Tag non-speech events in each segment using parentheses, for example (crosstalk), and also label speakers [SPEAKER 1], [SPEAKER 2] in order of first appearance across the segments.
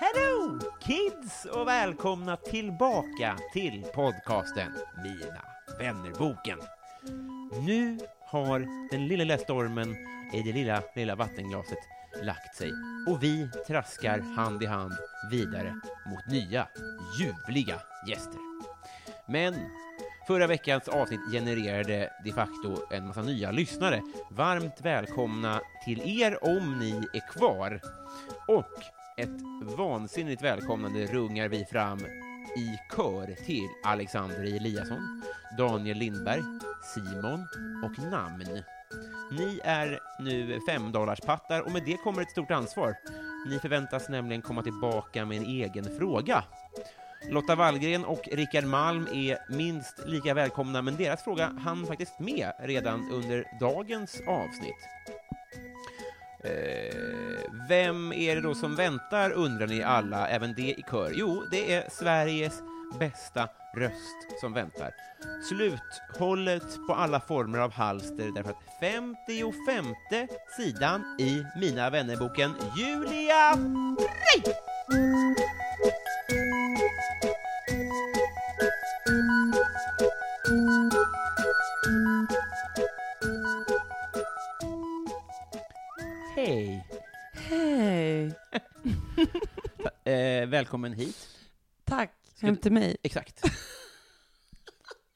[SPEAKER 1] Hello kids och välkomna tillbaka till podcasten Mina vännerboken. Nu har den lilla, lilla stormen i det lilla, lilla vattenglaset lagt sig och vi traskar hand i hand vidare mot nya ljuvliga gäster. Men förra veckans avsnitt genererade de facto en massa nya lyssnare. Varmt välkomna till er om ni är kvar. Och ett vansinnigt välkomnande rungar vi fram i kör till Alexander Eliasson, Daniel Lindberg, Simon och namn. Ni är nu femdollarspattar och med det kommer ett stort ansvar. Ni förväntas nämligen komma tillbaka med en egen fråga. Lotta Wallgren och Rickard Malm är minst lika välkomna, men deras fråga hann faktiskt med redan under dagens avsnitt. Eh, vem är det då som väntar, undrar ni alla, även det i kör? Jo, det är Sveriges bästa röst som väntar. Sluthållet på alla former av halster, därför att 55 sidan i Mina vännerboken Julia Frey! Hej!
[SPEAKER 2] Hej!
[SPEAKER 1] Eh, välkommen hit.
[SPEAKER 2] Tack.
[SPEAKER 1] Ska-
[SPEAKER 2] Hem till mig.
[SPEAKER 1] Exakt.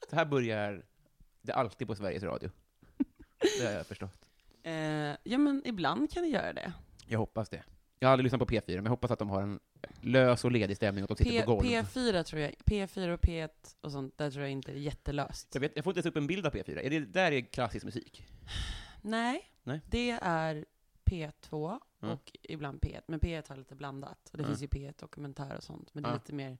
[SPEAKER 1] Så här börjar det alltid på Sveriges Radio. Det har jag förstått.
[SPEAKER 2] Eh, ja, men ibland kan du göra det.
[SPEAKER 1] Jag hoppas det. Jag har aldrig lyssnat på P4, men jag hoppas att de har en lös och ledig stämning och att de sitter
[SPEAKER 2] P,
[SPEAKER 1] på golv.
[SPEAKER 2] P4 tror jag, P4 och P1 och sånt, där tror jag inte det är jättelöst.
[SPEAKER 1] jag, vet, jag får inte ens upp en bild av P4. Är det där är klassisk musik?
[SPEAKER 2] Nej,
[SPEAKER 1] Nej.
[SPEAKER 2] det är P2
[SPEAKER 1] Mm.
[SPEAKER 2] och ibland P1, men P1 har lite blandat. Och det
[SPEAKER 1] Mm.
[SPEAKER 2] finns ju P1 dokumentär och sånt, men det är
[SPEAKER 1] Ja.
[SPEAKER 2] lite mer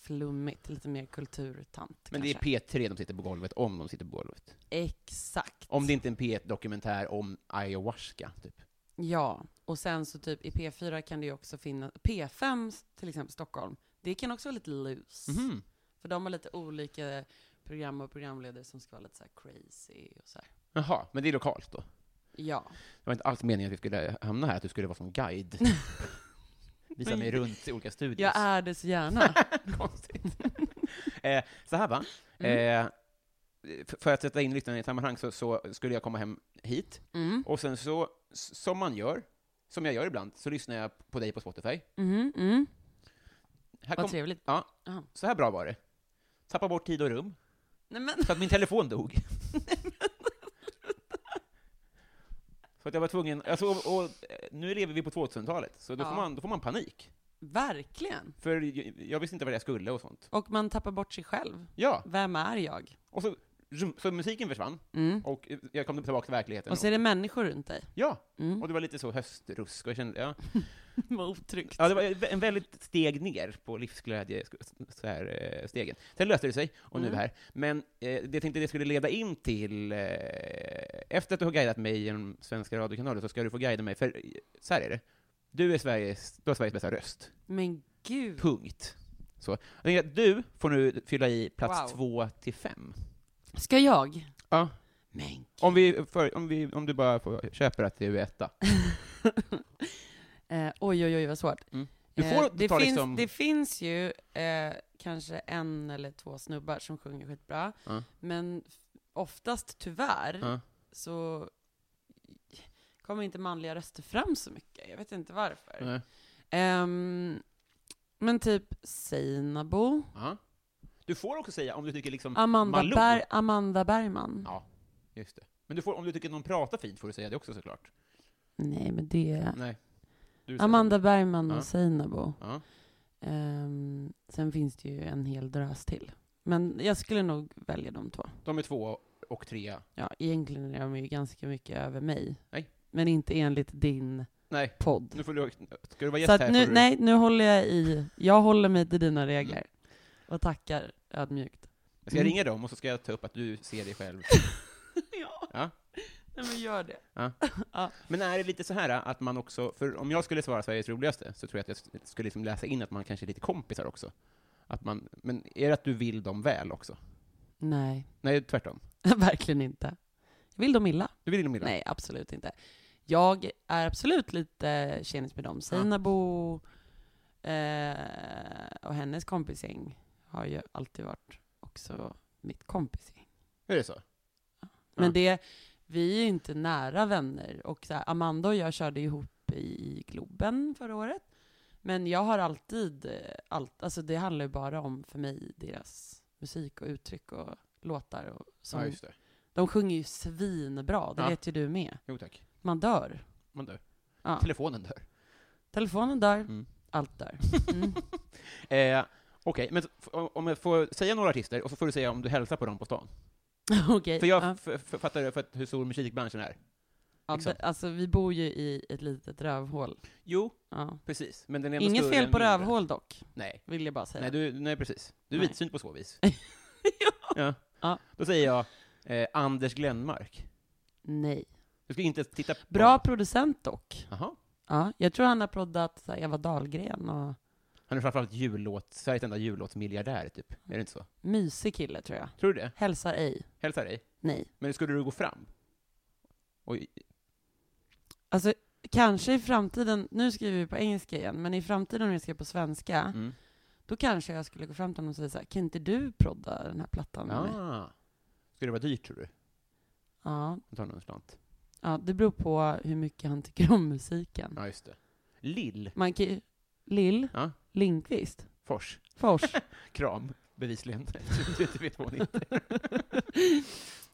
[SPEAKER 2] flummigt, lite mer kulturtant
[SPEAKER 1] Men det är
[SPEAKER 2] kanske.
[SPEAKER 1] P3 de sitter på golvet, om de sitter på golvet.
[SPEAKER 2] Exakt.
[SPEAKER 1] Om det inte är en P1-dokumentär om ayahuasca, typ.
[SPEAKER 2] Ja, och sen så typ i P4 kan det ju också finnas, P5 till exempel Stockholm, det kan också vara lite loose.
[SPEAKER 1] Mhm.
[SPEAKER 2] För de har lite olika program och programledare som ska vara lite så här crazy och så här.
[SPEAKER 1] Jaha, men det är lokalt då? (laughs)
[SPEAKER 2] Ja.
[SPEAKER 1] Det var inte alls meningen att vi skulle hamna här, att du skulle vara som guide. Visa mig runt i olika studios.
[SPEAKER 2] Jag är det så gärna.
[SPEAKER 1] (laughs) Konstigt. eh, så här va.
[SPEAKER 2] Mm.
[SPEAKER 1] Eh, f- för att sätta in lyssnarna i ett sammanhang så, så skulle jag komma hem hit,
[SPEAKER 2] (laughs) Mm.
[SPEAKER 1] och sen så, s- som man gör, som jag gör ibland, så lyssnar jag på dig på Spotify.
[SPEAKER 2] Mm, mm.
[SPEAKER 1] Här
[SPEAKER 2] Vad
[SPEAKER 1] kom,
[SPEAKER 2] trevligt.
[SPEAKER 1] ja,
[SPEAKER 2] Aha.
[SPEAKER 1] så här bra var det. Tappa bort tid och rum,
[SPEAKER 2] Nej men, (laughs)
[SPEAKER 1] så att min telefon dog. så att jag var tvungen, alltså, och, och, eh, nu lever vi på 2000-talet, så då,
[SPEAKER 2] Ja.
[SPEAKER 1] får man, då får man panik.
[SPEAKER 2] verkligen.
[SPEAKER 1] För jag, jag visste inte vad jag skulle och sånt.
[SPEAKER 2] Och man tappar bort sig själv.
[SPEAKER 1] Ja,
[SPEAKER 2] Vem är jag?
[SPEAKER 1] och så, så musiken försvann.
[SPEAKER 2] Mm.
[SPEAKER 1] Och eh, jag kom tillbaka till verkligheten.
[SPEAKER 2] Och så är det människor runt dig.
[SPEAKER 1] Ja,
[SPEAKER 2] Mm.
[SPEAKER 1] och det var lite så höstrusk, och jag kände, ja.
[SPEAKER 2] (laughs) Vad otryggt.
[SPEAKER 1] ja, det var en väldigt steg ner på livsglädje, så här, eh, stegen. Sen löste det sig, och nu är vi
[SPEAKER 2] Mm.
[SPEAKER 1] här. Men eh, det jag tänkte det skulle leda in till, eh, efter att du har guidat mig genom svenska radiokanaler, så ska du få guida mig, för eh, så här är det. Du är Sveriges, du har Sveriges bästa röst.
[SPEAKER 2] Men gud.
[SPEAKER 1] Punkt. Så. Jag tänker att du får nu fylla i plats
[SPEAKER 2] Wow.
[SPEAKER 1] två till fem.
[SPEAKER 2] Ska jag?
[SPEAKER 1] Ja.
[SPEAKER 2] Men
[SPEAKER 1] Om, vi, för, om, vi, om du bara får, köper att du är etta.
[SPEAKER 2] (laughs) Eh, oj, oj, oj vad svårt.
[SPEAKER 1] Mm. Du får
[SPEAKER 2] eh, det,
[SPEAKER 1] ta
[SPEAKER 2] finns,
[SPEAKER 1] liksom-
[SPEAKER 2] det finns ju eh, kanske en eller två snubbar som sjunger skitbra,
[SPEAKER 1] Ja.
[SPEAKER 2] men f- oftast tyvärr
[SPEAKER 1] Ja.
[SPEAKER 2] så kommer inte manliga röster fram så mycket. Jag vet inte varför.
[SPEAKER 1] Nej.
[SPEAKER 2] Ehm, men typ Seinabo,
[SPEAKER 1] Ja. Du får också säga om du tycker liksom
[SPEAKER 2] Amanda,
[SPEAKER 1] Mm. Malou.
[SPEAKER 2] Ber- Amanda Bergman.
[SPEAKER 1] Ja, just det. Men du får, om du tycker någon pratar fint får du säga det också såklart.
[SPEAKER 2] Nej, men det...
[SPEAKER 1] Nej. Du säger
[SPEAKER 2] Amanda Bergman
[SPEAKER 1] Ja.
[SPEAKER 2] och Seinabo.
[SPEAKER 1] så. Ja.
[SPEAKER 2] Ehm, sen finns det ju en hel drös till. Men jag skulle nog välja de två.
[SPEAKER 1] De är två och trea.
[SPEAKER 2] Ja, egentligen är de ju ganska mycket över mig.
[SPEAKER 1] Nej.
[SPEAKER 2] Men inte enligt din
[SPEAKER 1] Nej,
[SPEAKER 2] podd.
[SPEAKER 1] nu får du... Ska du vara gäst
[SPEAKER 2] Så
[SPEAKER 1] här
[SPEAKER 2] att nu,
[SPEAKER 1] får du...
[SPEAKER 2] nej, nu håller jag i, jag håller mig till dina
[SPEAKER 1] Mm.
[SPEAKER 2] regler. Och tackar ödmjukt.
[SPEAKER 1] Jag ska
[SPEAKER 2] Mm.
[SPEAKER 1] ringa dem och så ska jag ta upp att du ser dig själv.
[SPEAKER 2] ja.
[SPEAKER 1] (laughs) Ja.
[SPEAKER 2] Nej men gör det.
[SPEAKER 1] Men är det lite så här att man också, för om jag skulle svara Sveriges roligaste så tror jag att jag skulle liksom läsa in att man kanske är lite kompisar också. Att man, men är det att du vill dem väl också?
[SPEAKER 2] Nej, (laughs)
[SPEAKER 1] Nej, tvärtom.
[SPEAKER 2] verkligen inte. Vill de illa?
[SPEAKER 1] Du vill dem illa?
[SPEAKER 2] Nej, absolut inte. Jag är absolut lite tjenis med dem. Seinabo eh, och hennes kompisgäng har ju alltid varit också mitt kompisgäng.
[SPEAKER 1] Är det så?
[SPEAKER 2] Men
[SPEAKER 1] Ja.
[SPEAKER 2] det, vi är ju inte nära vänner. Och så här, Amanda och jag körde ihop i Globen förra året. Men jag har alltid, eh, allt, alltså det handlar ju bara om för mig deras musik och uttryck och låtar och
[SPEAKER 1] Ja,
[SPEAKER 2] sånt.
[SPEAKER 1] just det.
[SPEAKER 2] de sjunger ju svinbra, det
[SPEAKER 1] Ja.
[SPEAKER 2] vet ju du med.
[SPEAKER 1] Jo tack.
[SPEAKER 2] Man dör.
[SPEAKER 1] Man dör.
[SPEAKER 2] Ja.
[SPEAKER 1] Telefonen dör.
[SPEAKER 2] Telefonen dör,
[SPEAKER 1] Mm. (laughs)
[SPEAKER 2] allt dör. Mm. (laughs)
[SPEAKER 1] Eh, Okej, men f- om jag får säga några artister, och så får du säga om du hälsar på dem på stan.
[SPEAKER 2] Okej.
[SPEAKER 1] För jag
[SPEAKER 2] ja.
[SPEAKER 1] f- f- fattar för att hur stor musikbranschen är.
[SPEAKER 2] Ja,
[SPEAKER 1] liksom.
[SPEAKER 2] men alltså vi bor ju i ett litet rövhål.
[SPEAKER 1] Jo,
[SPEAKER 2] Ja.
[SPEAKER 1] precis. Men den är ändå
[SPEAKER 2] Inget
[SPEAKER 1] större
[SPEAKER 2] fel
[SPEAKER 1] än
[SPEAKER 2] på
[SPEAKER 1] mindre.
[SPEAKER 2] rövhål dock,
[SPEAKER 1] Nej,
[SPEAKER 2] vill jag bara säga.
[SPEAKER 1] nej, du, nej precis. Du är
[SPEAKER 2] Nej.
[SPEAKER 1] vidsynt på så vis.
[SPEAKER 2] ja.
[SPEAKER 1] Ja.
[SPEAKER 2] Ja.
[SPEAKER 1] Då säger jag eh, Anders Glenmark.
[SPEAKER 2] (laughs) Nej.
[SPEAKER 1] Du ska inte titta på
[SPEAKER 2] Bra producent dock.
[SPEAKER 1] Jaha.
[SPEAKER 2] Ja, jag tror han har proddat så här, Eva Dahlgren och
[SPEAKER 1] Han är framförallt jullåt, Sveriges enda jullåtsmiljardär, typ.
[SPEAKER 2] Mm.
[SPEAKER 1] Är det inte så?
[SPEAKER 2] mysig kille tror jag.
[SPEAKER 1] Tror du det?
[SPEAKER 2] Hälsar ej.
[SPEAKER 1] Hälsar dig.
[SPEAKER 2] Nej.
[SPEAKER 1] Men skulle du gå fram? Oj,
[SPEAKER 2] Alltså kanske i framtiden, nu skriver vi på engelska igen, men i framtiden om jag skriver på svenska,
[SPEAKER 1] mm.
[SPEAKER 2] då kanske jag skulle gå fram till honom och säga så här, kan inte du prodda den här plattan? med mig?"
[SPEAKER 1] ah. Skulle det vara dyrt, tror du?
[SPEAKER 2] Ja,
[SPEAKER 1] Jag tar någon
[SPEAKER 2] Mm.
[SPEAKER 1] slant.
[SPEAKER 2] ja, det beror på hur mycket han tycker om musiken.
[SPEAKER 1] Ja, just det. Lill
[SPEAKER 2] Man kan ju, Lill,
[SPEAKER 1] Ja.
[SPEAKER 2] Lindqvist,
[SPEAKER 1] Fors.
[SPEAKER 2] Fors.
[SPEAKER 1] Kram,
[SPEAKER 2] (laughs)
[SPEAKER 1] bevisligen. det vet hon inte.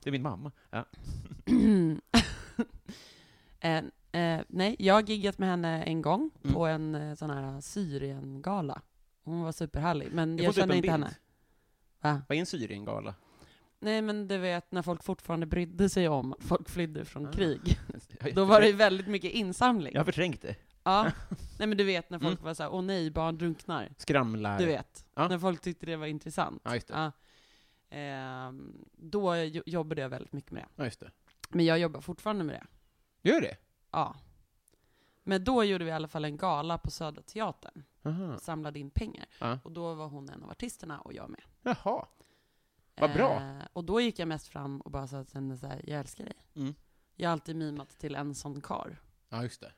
[SPEAKER 1] det är min mamma. Ja.
[SPEAKER 2] (clears throat) eh, eh, nej, jag har giggat med henne en gång
[SPEAKER 1] Mm.
[SPEAKER 2] på en eh, sån här Syrien-gala. Hon var superhärlig, men
[SPEAKER 1] får
[SPEAKER 2] jag
[SPEAKER 1] typ
[SPEAKER 2] känner
[SPEAKER 1] en
[SPEAKER 2] inte
[SPEAKER 1] bild.
[SPEAKER 2] henne. Va?
[SPEAKER 1] Vad är en Syriengala?
[SPEAKER 2] Nej, men du vet när folk fortfarande brydde sig om att folk flydde från
[SPEAKER 1] Ah.
[SPEAKER 2] krig. (laughs)
[SPEAKER 1] Jag-
[SPEAKER 2] (laughs) Då var det ju väldigt mycket insamling.
[SPEAKER 1] Jag har förträngt det.
[SPEAKER 2] Ja. Nej, men du vet när folk var så här, åh nej, barn drunknar.
[SPEAKER 1] Skramlar.
[SPEAKER 2] Du vet.
[SPEAKER 1] Ja.
[SPEAKER 2] När folk tyckte det var intressant.
[SPEAKER 1] Ja, just det.
[SPEAKER 2] Ja. Ehm, då jo- jobbade jag väldigt mycket med det.
[SPEAKER 1] Ja, just det.
[SPEAKER 2] Men jag jobbar fortfarande med det.
[SPEAKER 1] Gör det?
[SPEAKER 2] Ja. Men då gjorde vi i alla fall en gala på Södra Teatern
[SPEAKER 1] Aha.
[SPEAKER 2] och samlade in pengar.
[SPEAKER 1] Ja.
[SPEAKER 2] Och då var hon en av artisterna och jag med.
[SPEAKER 1] Jaha. Vad bra.
[SPEAKER 2] Eh, och då gick jag mest fram och bara sa till henne så här, jag älskar dig.
[SPEAKER 1] Mm.
[SPEAKER 2] Jag har alltid mimat till en sån kar.
[SPEAKER 1] Ja, just det.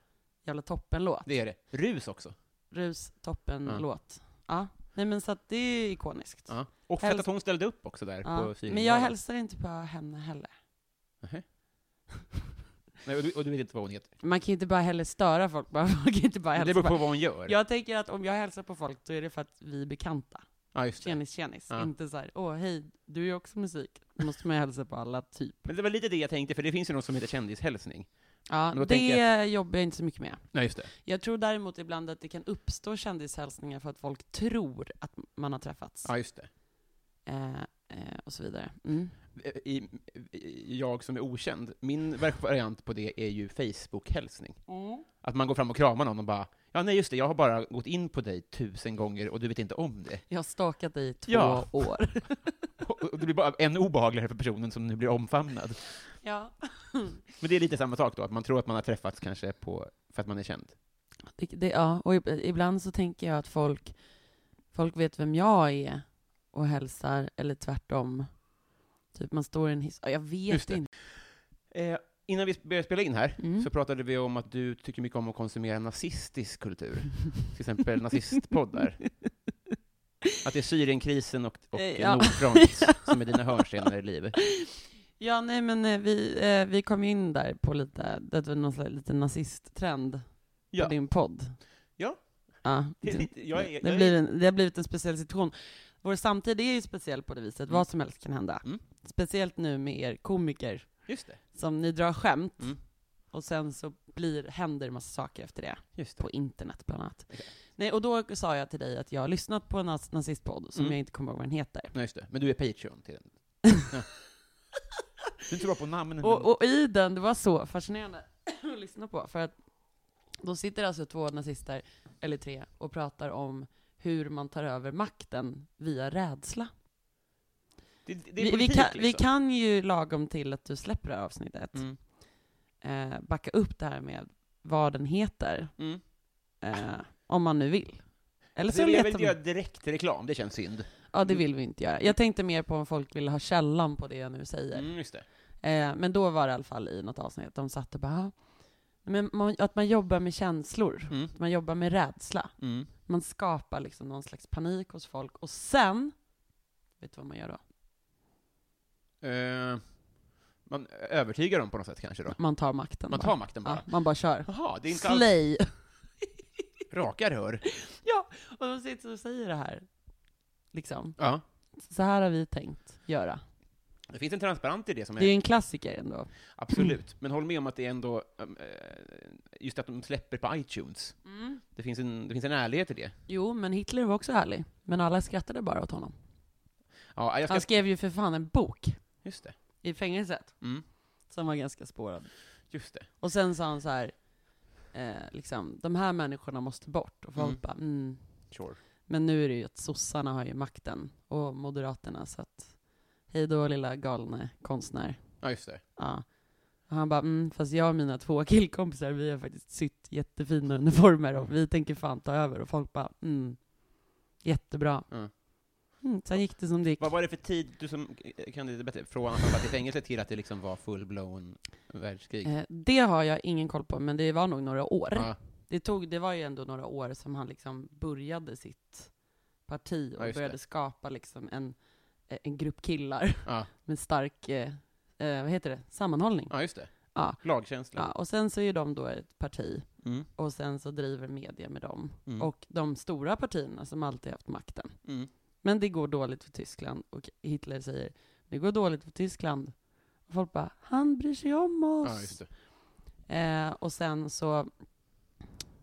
[SPEAKER 2] Jävla toppenlåt.
[SPEAKER 1] Det är det. Rus också.
[SPEAKER 2] Rus,
[SPEAKER 1] Ja.
[SPEAKER 2] toppenlåt. Ja. Nej men så att det är ikoniskt.
[SPEAKER 1] Ja. Och fett
[SPEAKER 2] Häls-
[SPEAKER 1] att hon ställde upp också där
[SPEAKER 2] Ja.
[SPEAKER 1] på Syriengalan.
[SPEAKER 2] Men jag hälsar inte på henne heller.
[SPEAKER 1] Nej, och, du, och du vet inte vad hon heter.
[SPEAKER 2] Man kan ju inte bara heller störa folk. (laughs) Bara, man kan inte
[SPEAKER 1] Men
[SPEAKER 2] bara hälsa
[SPEAKER 1] det beror
[SPEAKER 2] på.
[SPEAKER 1] på vad hon gör.
[SPEAKER 2] Jag tänker att om jag hälsar på folk, då är det för att vi är bekanta.
[SPEAKER 1] Ja, just det.
[SPEAKER 2] Tjenis, tjenis.
[SPEAKER 1] Typ. Ja.
[SPEAKER 2] Inte så här, åh hej, du är ju också musik. Då måste man ju hälsa på alla, typ.
[SPEAKER 1] Men det var lite det jag tänkte, för det finns ju något som heter kändishälsning.
[SPEAKER 2] Ja,
[SPEAKER 1] Men då
[SPEAKER 2] det
[SPEAKER 1] tänker
[SPEAKER 2] jobbar jag inte så mycket med.
[SPEAKER 1] Nej, just det.
[SPEAKER 2] Jag tror däremot ibland att det kan uppstå kändishälsningar för att folk tror att man har träffats.
[SPEAKER 1] Ja, just det.
[SPEAKER 2] Eh, eh, och så vidare. Mm.
[SPEAKER 1] eh, I, i, jag som är okänd, min variant på det är ju Facebook-hälsning.
[SPEAKER 2] Mm.
[SPEAKER 1] Att man går fram och kramar någon och bara Ja, nej just det, jag har bara gått in på dig tusen gånger och du vet inte om det. (laughs)
[SPEAKER 2] Jag har stakat dig i två
[SPEAKER 1] Ja.
[SPEAKER 2] år.
[SPEAKER 1] Och och det blir bara ännu obehagligare för personen som nu blir omfamnad.
[SPEAKER 2] (laughs) ja.
[SPEAKER 1] Men det är lite samma sak då, att man tror att man har träffats kanske på, för att man är känd.
[SPEAKER 2] Det, det, ja, och ib- ibland så tänker jag att folk, folk vet vem jag är och hälsar, eller tvärtom. Typ man står i en hiss. Ja, Jag
[SPEAKER 1] Just
[SPEAKER 2] vet
[SPEAKER 1] det.
[SPEAKER 2] inte.
[SPEAKER 1] Eh, innan vi började spela in här,
[SPEAKER 2] Mm.
[SPEAKER 1] så pratade vi om att du tycker mycket om att konsumera nazistisk kultur. Till
[SPEAKER 2] (laughs)
[SPEAKER 1] exempel nazistpoddar. Att det är Syrienkrisen och, och
[SPEAKER 2] Eh, (laughs) ja.
[SPEAKER 1] Nordfront som är dina hörnstenar i livet.
[SPEAKER 2] Ja, nej men eh, vi, eh, vi kom in där på lite, det var någon slags lite nazisttrend
[SPEAKER 1] Ja.
[SPEAKER 2] på din podd.
[SPEAKER 1] Ja.
[SPEAKER 2] Ja,
[SPEAKER 1] (laughs) Det är
[SPEAKER 2] det,
[SPEAKER 1] lite- jag är- jag
[SPEAKER 2] det,
[SPEAKER 1] är-
[SPEAKER 2] blir en, det har blivit en speciell situation. Vår samtid är ju speciell på det viset,
[SPEAKER 1] Mm.
[SPEAKER 2] vad som helst kan hända.
[SPEAKER 1] Mm.
[SPEAKER 2] Speciellt nu med er komiker,
[SPEAKER 1] Just det.
[SPEAKER 2] som ni drar skämt,
[SPEAKER 1] Mm.
[SPEAKER 2] och sen så blir, händer massa saker efter det,
[SPEAKER 1] Just
[SPEAKER 2] på internet bland annat.
[SPEAKER 1] Okej.
[SPEAKER 2] Nej, och då sa jag till dig att jag har lyssnat på en naz- nazistpodd, som
[SPEAKER 1] Mm.
[SPEAKER 2] jag inte kommer ihåg vad den heter.
[SPEAKER 1] Nej, just det. Men du är Patreon till den.
[SPEAKER 2] (laughs)
[SPEAKER 1] Ja. Du är inte bra på namnen. men-
[SPEAKER 2] Och, och i den, det var så fascinerande (clears throat) att lyssna på, för att då sitter alltså två nazister, eller tre, och pratar om hur man tar över makten via rädsla.
[SPEAKER 1] det, det är
[SPEAKER 2] vi, vi,
[SPEAKER 1] politik,
[SPEAKER 2] kan, vi
[SPEAKER 1] liksom.
[SPEAKER 2] kan ju lagom till att du släpper det här avsnittet,
[SPEAKER 1] Mm.
[SPEAKER 2] eh, backa upp det här med vad den heter,
[SPEAKER 1] Mm.
[SPEAKER 2] eh, om man nu vill. Eller
[SPEAKER 1] Alltså, jag
[SPEAKER 2] så
[SPEAKER 1] vill inte
[SPEAKER 2] letar
[SPEAKER 1] göra
[SPEAKER 2] man.
[SPEAKER 1] direkt reklam, det känns synd.
[SPEAKER 2] Ja, det vill vi inte göra. Jag tänkte mer på om folk vill ha källan på det jag nu säger.
[SPEAKER 1] Mm, just det.
[SPEAKER 2] Eh, men då var det i alla fall i något avsnitt, de satt och bara, "Ah, men man, att man jobbar med känslor,
[SPEAKER 1] Mm.
[SPEAKER 2] att man jobbar med rädsla.
[SPEAKER 1] Mm.
[SPEAKER 2] Man skapar liksom någon slags panik hos folk, och sen, vet du vad man gör då?
[SPEAKER 1] Eh, man övertygar dem på något sätt kanske då.
[SPEAKER 2] Man tar makten
[SPEAKER 1] Man
[SPEAKER 2] bara.
[SPEAKER 1] tar makten
[SPEAKER 2] Ja,
[SPEAKER 1] bara.
[SPEAKER 2] man bara kör.
[SPEAKER 1] Jaha, det är inte alls
[SPEAKER 2] Slay!
[SPEAKER 1] raka rör.
[SPEAKER 2] (laughs) ja, och de sitter och säger det här. Liksom,
[SPEAKER 1] Ja.
[SPEAKER 2] så här har vi tänkt göra.
[SPEAKER 1] Det finns en transparent i det som är...
[SPEAKER 2] Det är ju en klassiker ändå.
[SPEAKER 1] Absolut. Men håll med om att det är ändå... ehm, eh, Just att de släpper på iTunes.
[SPEAKER 2] Mm.
[SPEAKER 1] Det finns en, det finns en ärlighet i det.
[SPEAKER 2] Jo, men Hitler var också härlig, men alla skrattade bara åt honom.
[SPEAKER 1] Ja, jag ska...
[SPEAKER 2] Han skrev ju för fan en bok
[SPEAKER 1] Just det.
[SPEAKER 2] i fängelset,
[SPEAKER 1] Mm.
[SPEAKER 2] som var ganska spårad.
[SPEAKER 1] Just det.
[SPEAKER 2] Och sen sa han så här, eh, liksom, de här människorna måste bort. Och folk
[SPEAKER 1] Mm.
[SPEAKER 2] bara, mm.
[SPEAKER 1] Sure.
[SPEAKER 2] Men nu är det ju att sossarna har ju makten, och moderaterna, så att hej då lilla galne konstnär.
[SPEAKER 1] Ja, just det.
[SPEAKER 2] Ja. Och han bara, mm, fast jag och mina två killkompisar, vi har faktiskt sytt jättefina uniformer och vi tänker fan ta över. Och folk bara, mm, jättebra.
[SPEAKER 1] Mm.
[SPEAKER 2] Mm, sen gick det som det gick.
[SPEAKER 1] Vad var det för tid, du som eh, kan det lite bättre, från att han var i fängelse till att det liksom var full-blown världskrig?
[SPEAKER 2] Eh, det har jag ingen koll på, men det var nog några år.
[SPEAKER 1] Ja,
[SPEAKER 2] det, tog, det var ju ändå några år som han liksom började sitt parti
[SPEAKER 1] Ja,
[SPEAKER 2] och
[SPEAKER 1] just
[SPEAKER 2] började
[SPEAKER 1] det.
[SPEAKER 2] skapa liksom en, en grupp killar (laughs)
[SPEAKER 1] ja,
[SPEAKER 2] med stark, eh, eh, vad heter det, sammanhållning.
[SPEAKER 1] ja just det.
[SPEAKER 2] Ja.
[SPEAKER 1] Lagkänsla.
[SPEAKER 2] Ja, och sen så är de då ett parti,
[SPEAKER 1] Mm,
[SPEAKER 2] och sen så driver media med dem.
[SPEAKER 1] mm,
[SPEAKER 2] Och de stora partierna som alltid haft makten.
[SPEAKER 1] mm.
[SPEAKER 2] Men det går dåligt för Tyskland, och Hitler säger det går dåligt för Tyskland. Och folk bara, han bryr sig om oss.
[SPEAKER 1] Ja, just det.
[SPEAKER 2] Eh, och sen så,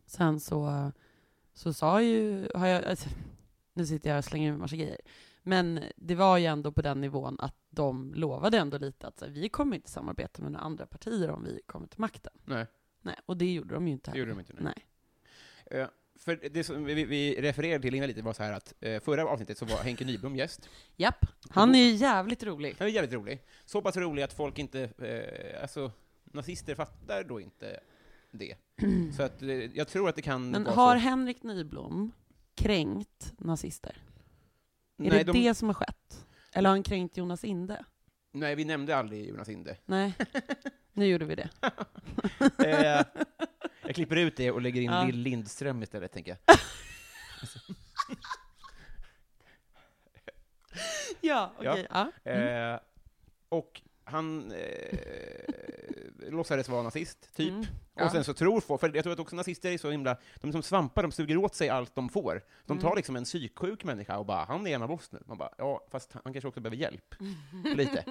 [SPEAKER 2] sen så, så sa ju, har jag, alltså, nu sitter jag och slänger ur massa grejer, men det var ju ändå på den nivån att de lovade ändå lite att så, här, vi kommer inte samarbeta med några andra partier om vi kommer till makten.
[SPEAKER 1] Nej,
[SPEAKER 2] Nej, och det gjorde de ju inte.
[SPEAKER 1] det gjorde de inte.
[SPEAKER 2] Nej.
[SPEAKER 1] Eh, För det som vi, vi refererade till innan lite var så här att eh, förra avsnittet så var Henke Nyblom gäst.
[SPEAKER 2] Japp, han är ju jävligt rolig.
[SPEAKER 1] Han är jävligt rolig. Så pass rolig att folk inte, eh, alltså nazister fattar då inte
[SPEAKER 2] (clears throat)
[SPEAKER 1] det. Så att eh, jag tror att det kan
[SPEAKER 2] Men
[SPEAKER 1] vara
[SPEAKER 2] har
[SPEAKER 1] så.
[SPEAKER 2] Henrik Nyblom kränkt nazister? Är
[SPEAKER 1] nej,
[SPEAKER 2] det
[SPEAKER 1] de,
[SPEAKER 2] det som har skett? Eller har han kränkt Jonas Inde?
[SPEAKER 1] nej, vi nämnde aldrig Jonas Inde. (laughs)
[SPEAKER 2] Nej, nu gjorde vi det.
[SPEAKER 1] Eh, jag klipper ut det och lägger in
[SPEAKER 2] Ja.
[SPEAKER 1] Lill Lindström istället, tänker jag.
[SPEAKER 2] Ja, okej.
[SPEAKER 1] Ja.
[SPEAKER 2] Ja. Mm.
[SPEAKER 1] Eh, och han eh, låtsades vara nazist, typ.
[SPEAKER 2] Mm.
[SPEAKER 1] Och sen så tror folk, för jag tror att också nazister är så himla, de är som svampar, de suger åt sig allt de får. De
[SPEAKER 2] Mm.
[SPEAKER 1] tar liksom en psyksjuk människa och bara, han är en av oss nu. Man bara, ja, fast han kanske också behöver
[SPEAKER 2] (laughs)
[SPEAKER 1] hjälp. Lite.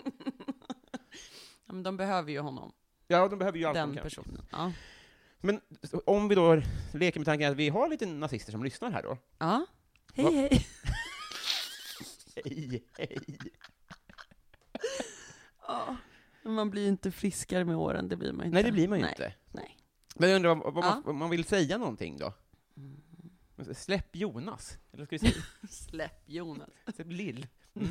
[SPEAKER 2] Ja, men de behöver ju honom,
[SPEAKER 1] Ja, de behöver ju allt de
[SPEAKER 2] den
[SPEAKER 1] kan.
[SPEAKER 2] personen. Ja.
[SPEAKER 1] Men så om vi då leker med tanken att vi har lite nazister som lyssnar här då.
[SPEAKER 2] ja.
[SPEAKER 1] Va?
[SPEAKER 2] Hej, hej.
[SPEAKER 1] Hej, hej.
[SPEAKER 2] Ja. Men Man blir ju inte friskare med åren, det blir man ju inte.
[SPEAKER 1] Nej, det blir man ju
[SPEAKER 2] Nej.
[SPEAKER 1] inte.
[SPEAKER 2] Nej.
[SPEAKER 1] Men jag undrar om, om,
[SPEAKER 2] Ja.
[SPEAKER 1] man, om man vill säga någonting då? Släpp Jonas. Eller ska vi säga (laughs)
[SPEAKER 2] Släpp Jonas. (laughs)
[SPEAKER 1] släpp Lill?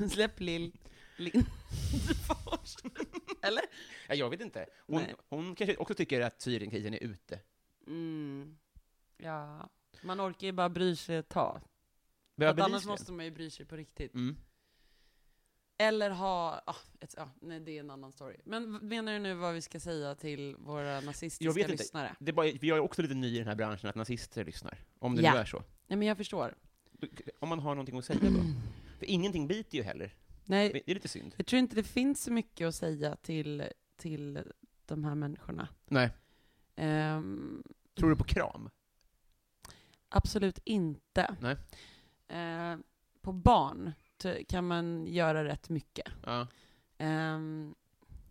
[SPEAKER 2] Släpp Lill Lindfors. (laughs) Eller?
[SPEAKER 1] Ja, jag vet inte. Hon,
[SPEAKER 2] Nej.
[SPEAKER 1] hon kanske också tycker att Syrienkrisen är ute.
[SPEAKER 2] Mm. Ja. Man orkar ju bara bry sig ett tag. För att
[SPEAKER 1] Behöver
[SPEAKER 2] annars
[SPEAKER 1] bevis
[SPEAKER 2] måste man ju bry sig på riktigt.
[SPEAKER 1] Mm.
[SPEAKER 2] Eller ha... Ah, ett, ah, nej, det är en annan story. Men v- menar du nu vad vi ska säga till våra
[SPEAKER 1] Jag vet
[SPEAKER 2] nazistiska
[SPEAKER 1] inte.
[SPEAKER 2] lyssnare?
[SPEAKER 1] Det är bara, jag är också lite ny i den här branschen, att nazister lyssnar. Om det
[SPEAKER 2] Ja.
[SPEAKER 1] nu är så.
[SPEAKER 2] Nej, men jag förstår.
[SPEAKER 1] Om man har någonting att säga då. För ingenting biter ju heller.
[SPEAKER 2] Nej,
[SPEAKER 1] Det är lite synd.
[SPEAKER 2] jag tror inte det finns så mycket att säga till, till de här människorna.
[SPEAKER 1] Nej.
[SPEAKER 2] Ehm,
[SPEAKER 1] Tror du på kram?
[SPEAKER 2] absolut inte.
[SPEAKER 1] Nej.
[SPEAKER 2] Ehm, på barn t- kan man göra rätt mycket.
[SPEAKER 1] Ja.
[SPEAKER 2] Ehm,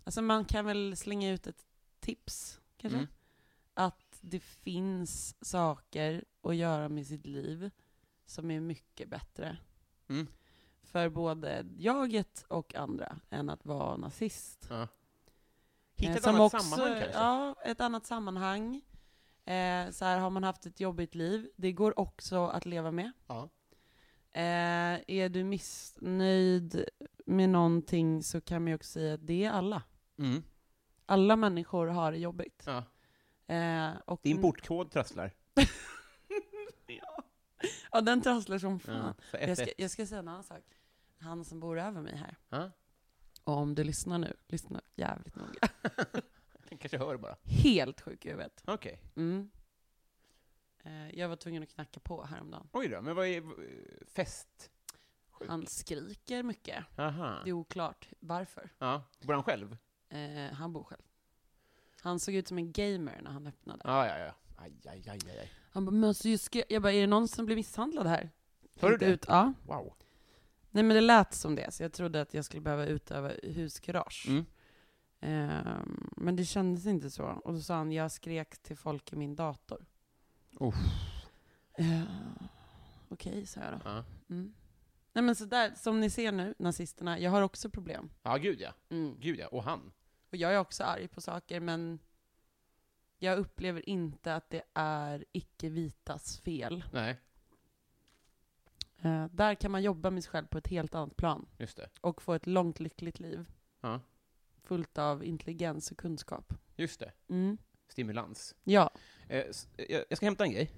[SPEAKER 2] alltså man kan väl slänga ut ett tips, kanske?
[SPEAKER 1] Mm.
[SPEAKER 2] Att det finns saker att göra med sitt liv som är mycket bättre.
[SPEAKER 1] Mm.
[SPEAKER 2] För både jaget och andra än att vara nazist.
[SPEAKER 1] ja. Hitta
[SPEAKER 2] Eh,
[SPEAKER 1] ett
[SPEAKER 2] som
[SPEAKER 1] annat
[SPEAKER 2] också-
[SPEAKER 1] sammanhang kanske?
[SPEAKER 2] Ja, ett annat sammanhang. Eh, så här, har man haft ett jobbigt liv, det går också att leva med.
[SPEAKER 1] Ja.
[SPEAKER 2] Eh, är du missnöjd med någonting så kan man ju också säga att det är alla.
[SPEAKER 1] Mm.
[SPEAKER 2] Alla människor har det jobbigt.
[SPEAKER 1] ja.
[SPEAKER 2] Eh, och
[SPEAKER 1] Din portkod trasslar.
[SPEAKER 2] (laughs) Ja, den trasslar som
[SPEAKER 1] Ja.
[SPEAKER 2] fan.
[SPEAKER 1] Så ett,
[SPEAKER 2] jag, ska,
[SPEAKER 1] ett.
[SPEAKER 2] jag ska säga en annan sak. Han som bor över mig här,
[SPEAKER 1] Ja. (laughs)
[SPEAKER 2] och om du lyssnar nu, lyssna jävligt noga.
[SPEAKER 1] Jag kanske hör bara.
[SPEAKER 2] Helt sjuk i huvudet.
[SPEAKER 1] Okej.
[SPEAKER 2] Mm. Eh, jag var tvungen att knacka på häromdagen.
[SPEAKER 1] Oj då, men vad är fest? Sjuk.
[SPEAKER 2] Han skriker mycket.
[SPEAKER 1] Aha.
[SPEAKER 2] Det är oklart varför.
[SPEAKER 1] Ja. Bor han själv?
[SPEAKER 2] Eh, han bor själv. Han såg ut som en gamer när han öppnade.
[SPEAKER 1] Ja, ja, ja. Aj, aj, aj, aj, aj.
[SPEAKER 2] Han bara, men alltså, jag ska-" jag bara, är det någon som blir misshandlad här?
[SPEAKER 1] Hör du
[SPEAKER 2] Tänkte
[SPEAKER 1] det?
[SPEAKER 2] Ut, ja.
[SPEAKER 1] Wow.
[SPEAKER 2] Nej men det lät som det, så jag trodde att jag skulle behöva utöva huskurage.
[SPEAKER 1] Mm.
[SPEAKER 2] Ehm, men det kändes inte så. Och då sa han, jag skrek till folk i min dator.
[SPEAKER 1] Uff.
[SPEAKER 2] Eh, Okej, sa jag då.
[SPEAKER 1] Ja.
[SPEAKER 2] Mm. Nej men så där, som ni ser nu, nazisterna, jag har också problem.
[SPEAKER 1] ja, gud ja.
[SPEAKER 2] Mm.
[SPEAKER 1] Gud ja. Och han.
[SPEAKER 2] Och jag är också arg på saker, men jag upplever inte att det är icke-vitas fel.
[SPEAKER 1] Nej,
[SPEAKER 2] Eh, där kan man jobba med sig själv på ett helt annat plan
[SPEAKER 1] just det.
[SPEAKER 2] och få ett långt lyckligt liv.
[SPEAKER 1] Ja.
[SPEAKER 2] Fullt av intelligens och kunskap.
[SPEAKER 1] Just det.
[SPEAKER 2] Mm.
[SPEAKER 1] Stimulans.
[SPEAKER 2] Ja.
[SPEAKER 1] Eh, s- jag jag ska hämta en grej.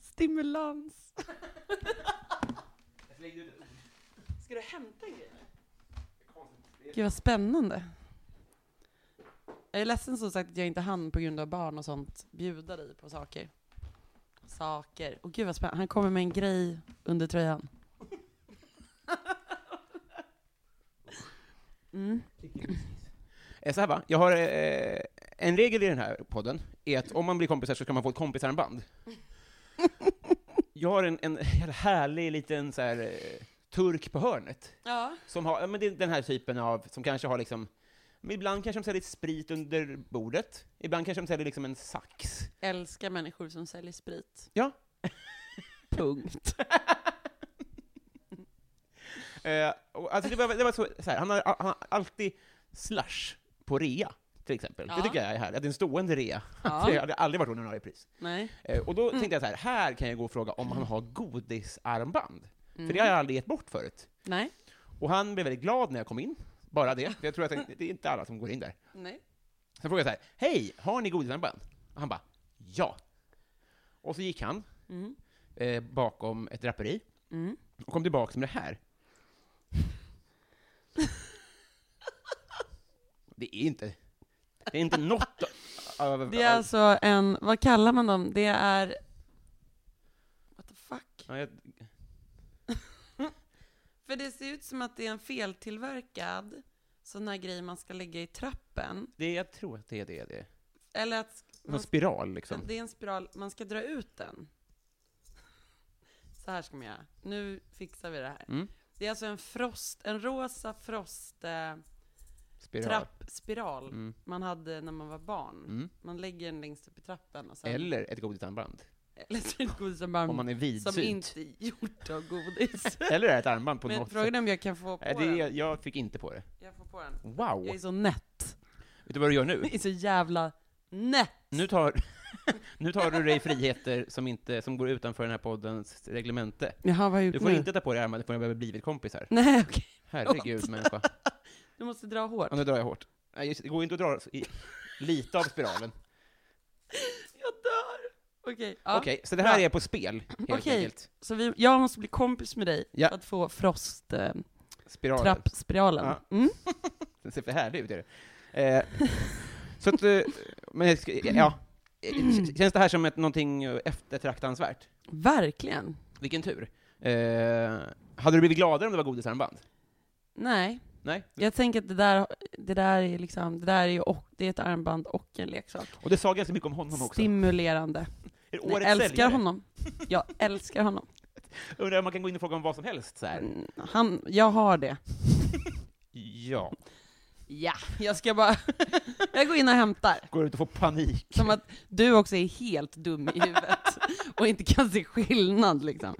[SPEAKER 2] Stimulans. Ska du hämta grejer? Gud vad spännande. Jag är ledsen som sagt att jag inte hann på grund av barn och sånt bjuda dig på saker. Saker. Och gud vad spännande. Han kommer med en grej under tröjan. Mm.
[SPEAKER 1] Eh, Så här va, jag har eh, en regel i den här podden, är att om man blir kompisar så ska man få ett kompisarmband. Jag har en, en (laughs) jävla härlig liten så här, eh, turk på hörnet,
[SPEAKER 2] Ja.
[SPEAKER 1] som har, ja, men det är den här typen av, som kanske har liksom, men ibland kanske de säljer sprit under bordet, ibland kanske de säljer liksom en sax.
[SPEAKER 2] Älskar människor som säljer sprit.
[SPEAKER 1] Ja.
[SPEAKER 2] Punkt.
[SPEAKER 1] (laughs) Eh, och alltså det, var, det var så, så här, han har, han har alltid slush på rea, till exempel. Det
[SPEAKER 2] Ja.
[SPEAKER 1] tycker jag är härligt, att det är en stående rea.
[SPEAKER 2] Ja.
[SPEAKER 1] (laughs)
[SPEAKER 2] Mm.
[SPEAKER 1] Det hade aldrig varit ordinarie pris.
[SPEAKER 2] Nej.
[SPEAKER 1] Eh, Och då tänkte jag så här, här kan jag gå och fråga om han har godisarmband. För
[SPEAKER 2] Mm.
[SPEAKER 1] det har jag aldrig gett bort förut.
[SPEAKER 2] Nej.
[SPEAKER 1] Och han blev väldigt glad när jag kom in, bara det. För jag tror att det det är inte alla som går in där.
[SPEAKER 2] Nej.
[SPEAKER 1] Sen frågade jag så här, hej, har ni godisarmband? Och han bara, ja. Och så gick han
[SPEAKER 2] Mm.
[SPEAKER 1] eh, bakom ett draperi
[SPEAKER 2] Mm.
[SPEAKER 1] och kom tillbaka med det här. Det är inte, det är inte något av...
[SPEAKER 2] Det är alltså en, vad kallar man dem? Det är... What the fuck?
[SPEAKER 1] Ja, jag,
[SPEAKER 2] För det ser ut som att det är en feltillverkad sån här grej man ska lägga i trappen.
[SPEAKER 1] det, jag tror att det är det. det. är.
[SPEAKER 2] Eller att
[SPEAKER 1] Någon spiral, liksom.
[SPEAKER 2] det är en spiral, man ska dra ut den. Så här ska man göra. Nu fixar vi det här.
[SPEAKER 1] Mm.
[SPEAKER 2] Det är alltså en frost, en rosa frost eh,
[SPEAKER 1] Spiral.
[SPEAKER 2] trappspiral
[SPEAKER 1] Mm.
[SPEAKER 2] man hade när man var barn.
[SPEAKER 1] Mm.
[SPEAKER 2] Man lägger den längst upp i trappen och sen...
[SPEAKER 1] Eller ett godisarmband.
[SPEAKER 2] (laughs) Eller så är det godis som
[SPEAKER 1] Om
[SPEAKER 2] bara...
[SPEAKER 1] man är
[SPEAKER 2] Som
[SPEAKER 1] vidsynt.
[SPEAKER 2] inte är gjort av godis.
[SPEAKER 1] Eller är ett armband på
[SPEAKER 2] Men
[SPEAKER 1] något
[SPEAKER 2] frågan är om jag kan få på
[SPEAKER 1] Nej, det
[SPEAKER 2] den.
[SPEAKER 1] är, jag fick inte på det.
[SPEAKER 2] Jag får på den.
[SPEAKER 1] Wow!
[SPEAKER 2] Jag är
[SPEAKER 1] Vet
[SPEAKER 2] så nätt.
[SPEAKER 1] du vad du gör nu?
[SPEAKER 2] Jag är så jävla nätt.
[SPEAKER 1] Nu tar, (laughs) nu tar du dig friheter som, inte, som går utanför den här poddens reglemente.
[SPEAKER 2] Jaha, vad har jag
[SPEAKER 1] Du får inte ta på dig armbandet förrän vi har blivit kompisar.
[SPEAKER 2] Nej, (laughs) okej.
[SPEAKER 1] Herregud människa.
[SPEAKER 2] Du måste dra hårt.
[SPEAKER 1] Ja, nu drar jag hårt. Nej, just, det går inte att dra i, lite av spiralen.
[SPEAKER 2] (laughs) Jag dör! Okej, ja.
[SPEAKER 1] Okej, så det här
[SPEAKER 2] Bra.
[SPEAKER 1] är på spel, helt
[SPEAKER 2] Okej.
[SPEAKER 1] enkelt.
[SPEAKER 2] Så vi, jag måste bli kompis med dig
[SPEAKER 1] Ja.
[SPEAKER 2] för att få frost, eh,
[SPEAKER 1] Spiralen.
[SPEAKER 2] trappspiralen.
[SPEAKER 1] Ja.
[SPEAKER 2] Mm?
[SPEAKER 1] Den ser för härlig ut, är det. Eh, så att, eh, men jag ska- ja. Eh, k- Känns det här som ett, någonting eftertraktansvärt?
[SPEAKER 2] Verkligen.
[SPEAKER 1] Vilken tur. Eh, Eh, hade du blivit gladare om det var godisarmband?
[SPEAKER 2] Nej,
[SPEAKER 1] Nej?
[SPEAKER 2] jag tänker att det där, det där är liksom, det där är ju och, det är ett armband och en leksak.
[SPEAKER 1] Och det sa ganska mycket om honom också.
[SPEAKER 2] Stimulerande.
[SPEAKER 1] Är det
[SPEAKER 2] Jag
[SPEAKER 1] årets
[SPEAKER 2] älskar
[SPEAKER 1] säljare?
[SPEAKER 2] honom.
[SPEAKER 1] (laughs)
[SPEAKER 2] Jag älskar honom.
[SPEAKER 1] Undrar om man kan gå in och fråga om vad som helst så här.
[SPEAKER 2] Mm, Han, jag har det.
[SPEAKER 1] Ja.
[SPEAKER 2] Ja, jag ska bara, (laughs) jag går in och hämtar.
[SPEAKER 1] Går ut och får panik.
[SPEAKER 2] Som att du också är helt dum i huvudet (laughs) och inte kan se skillnad liksom.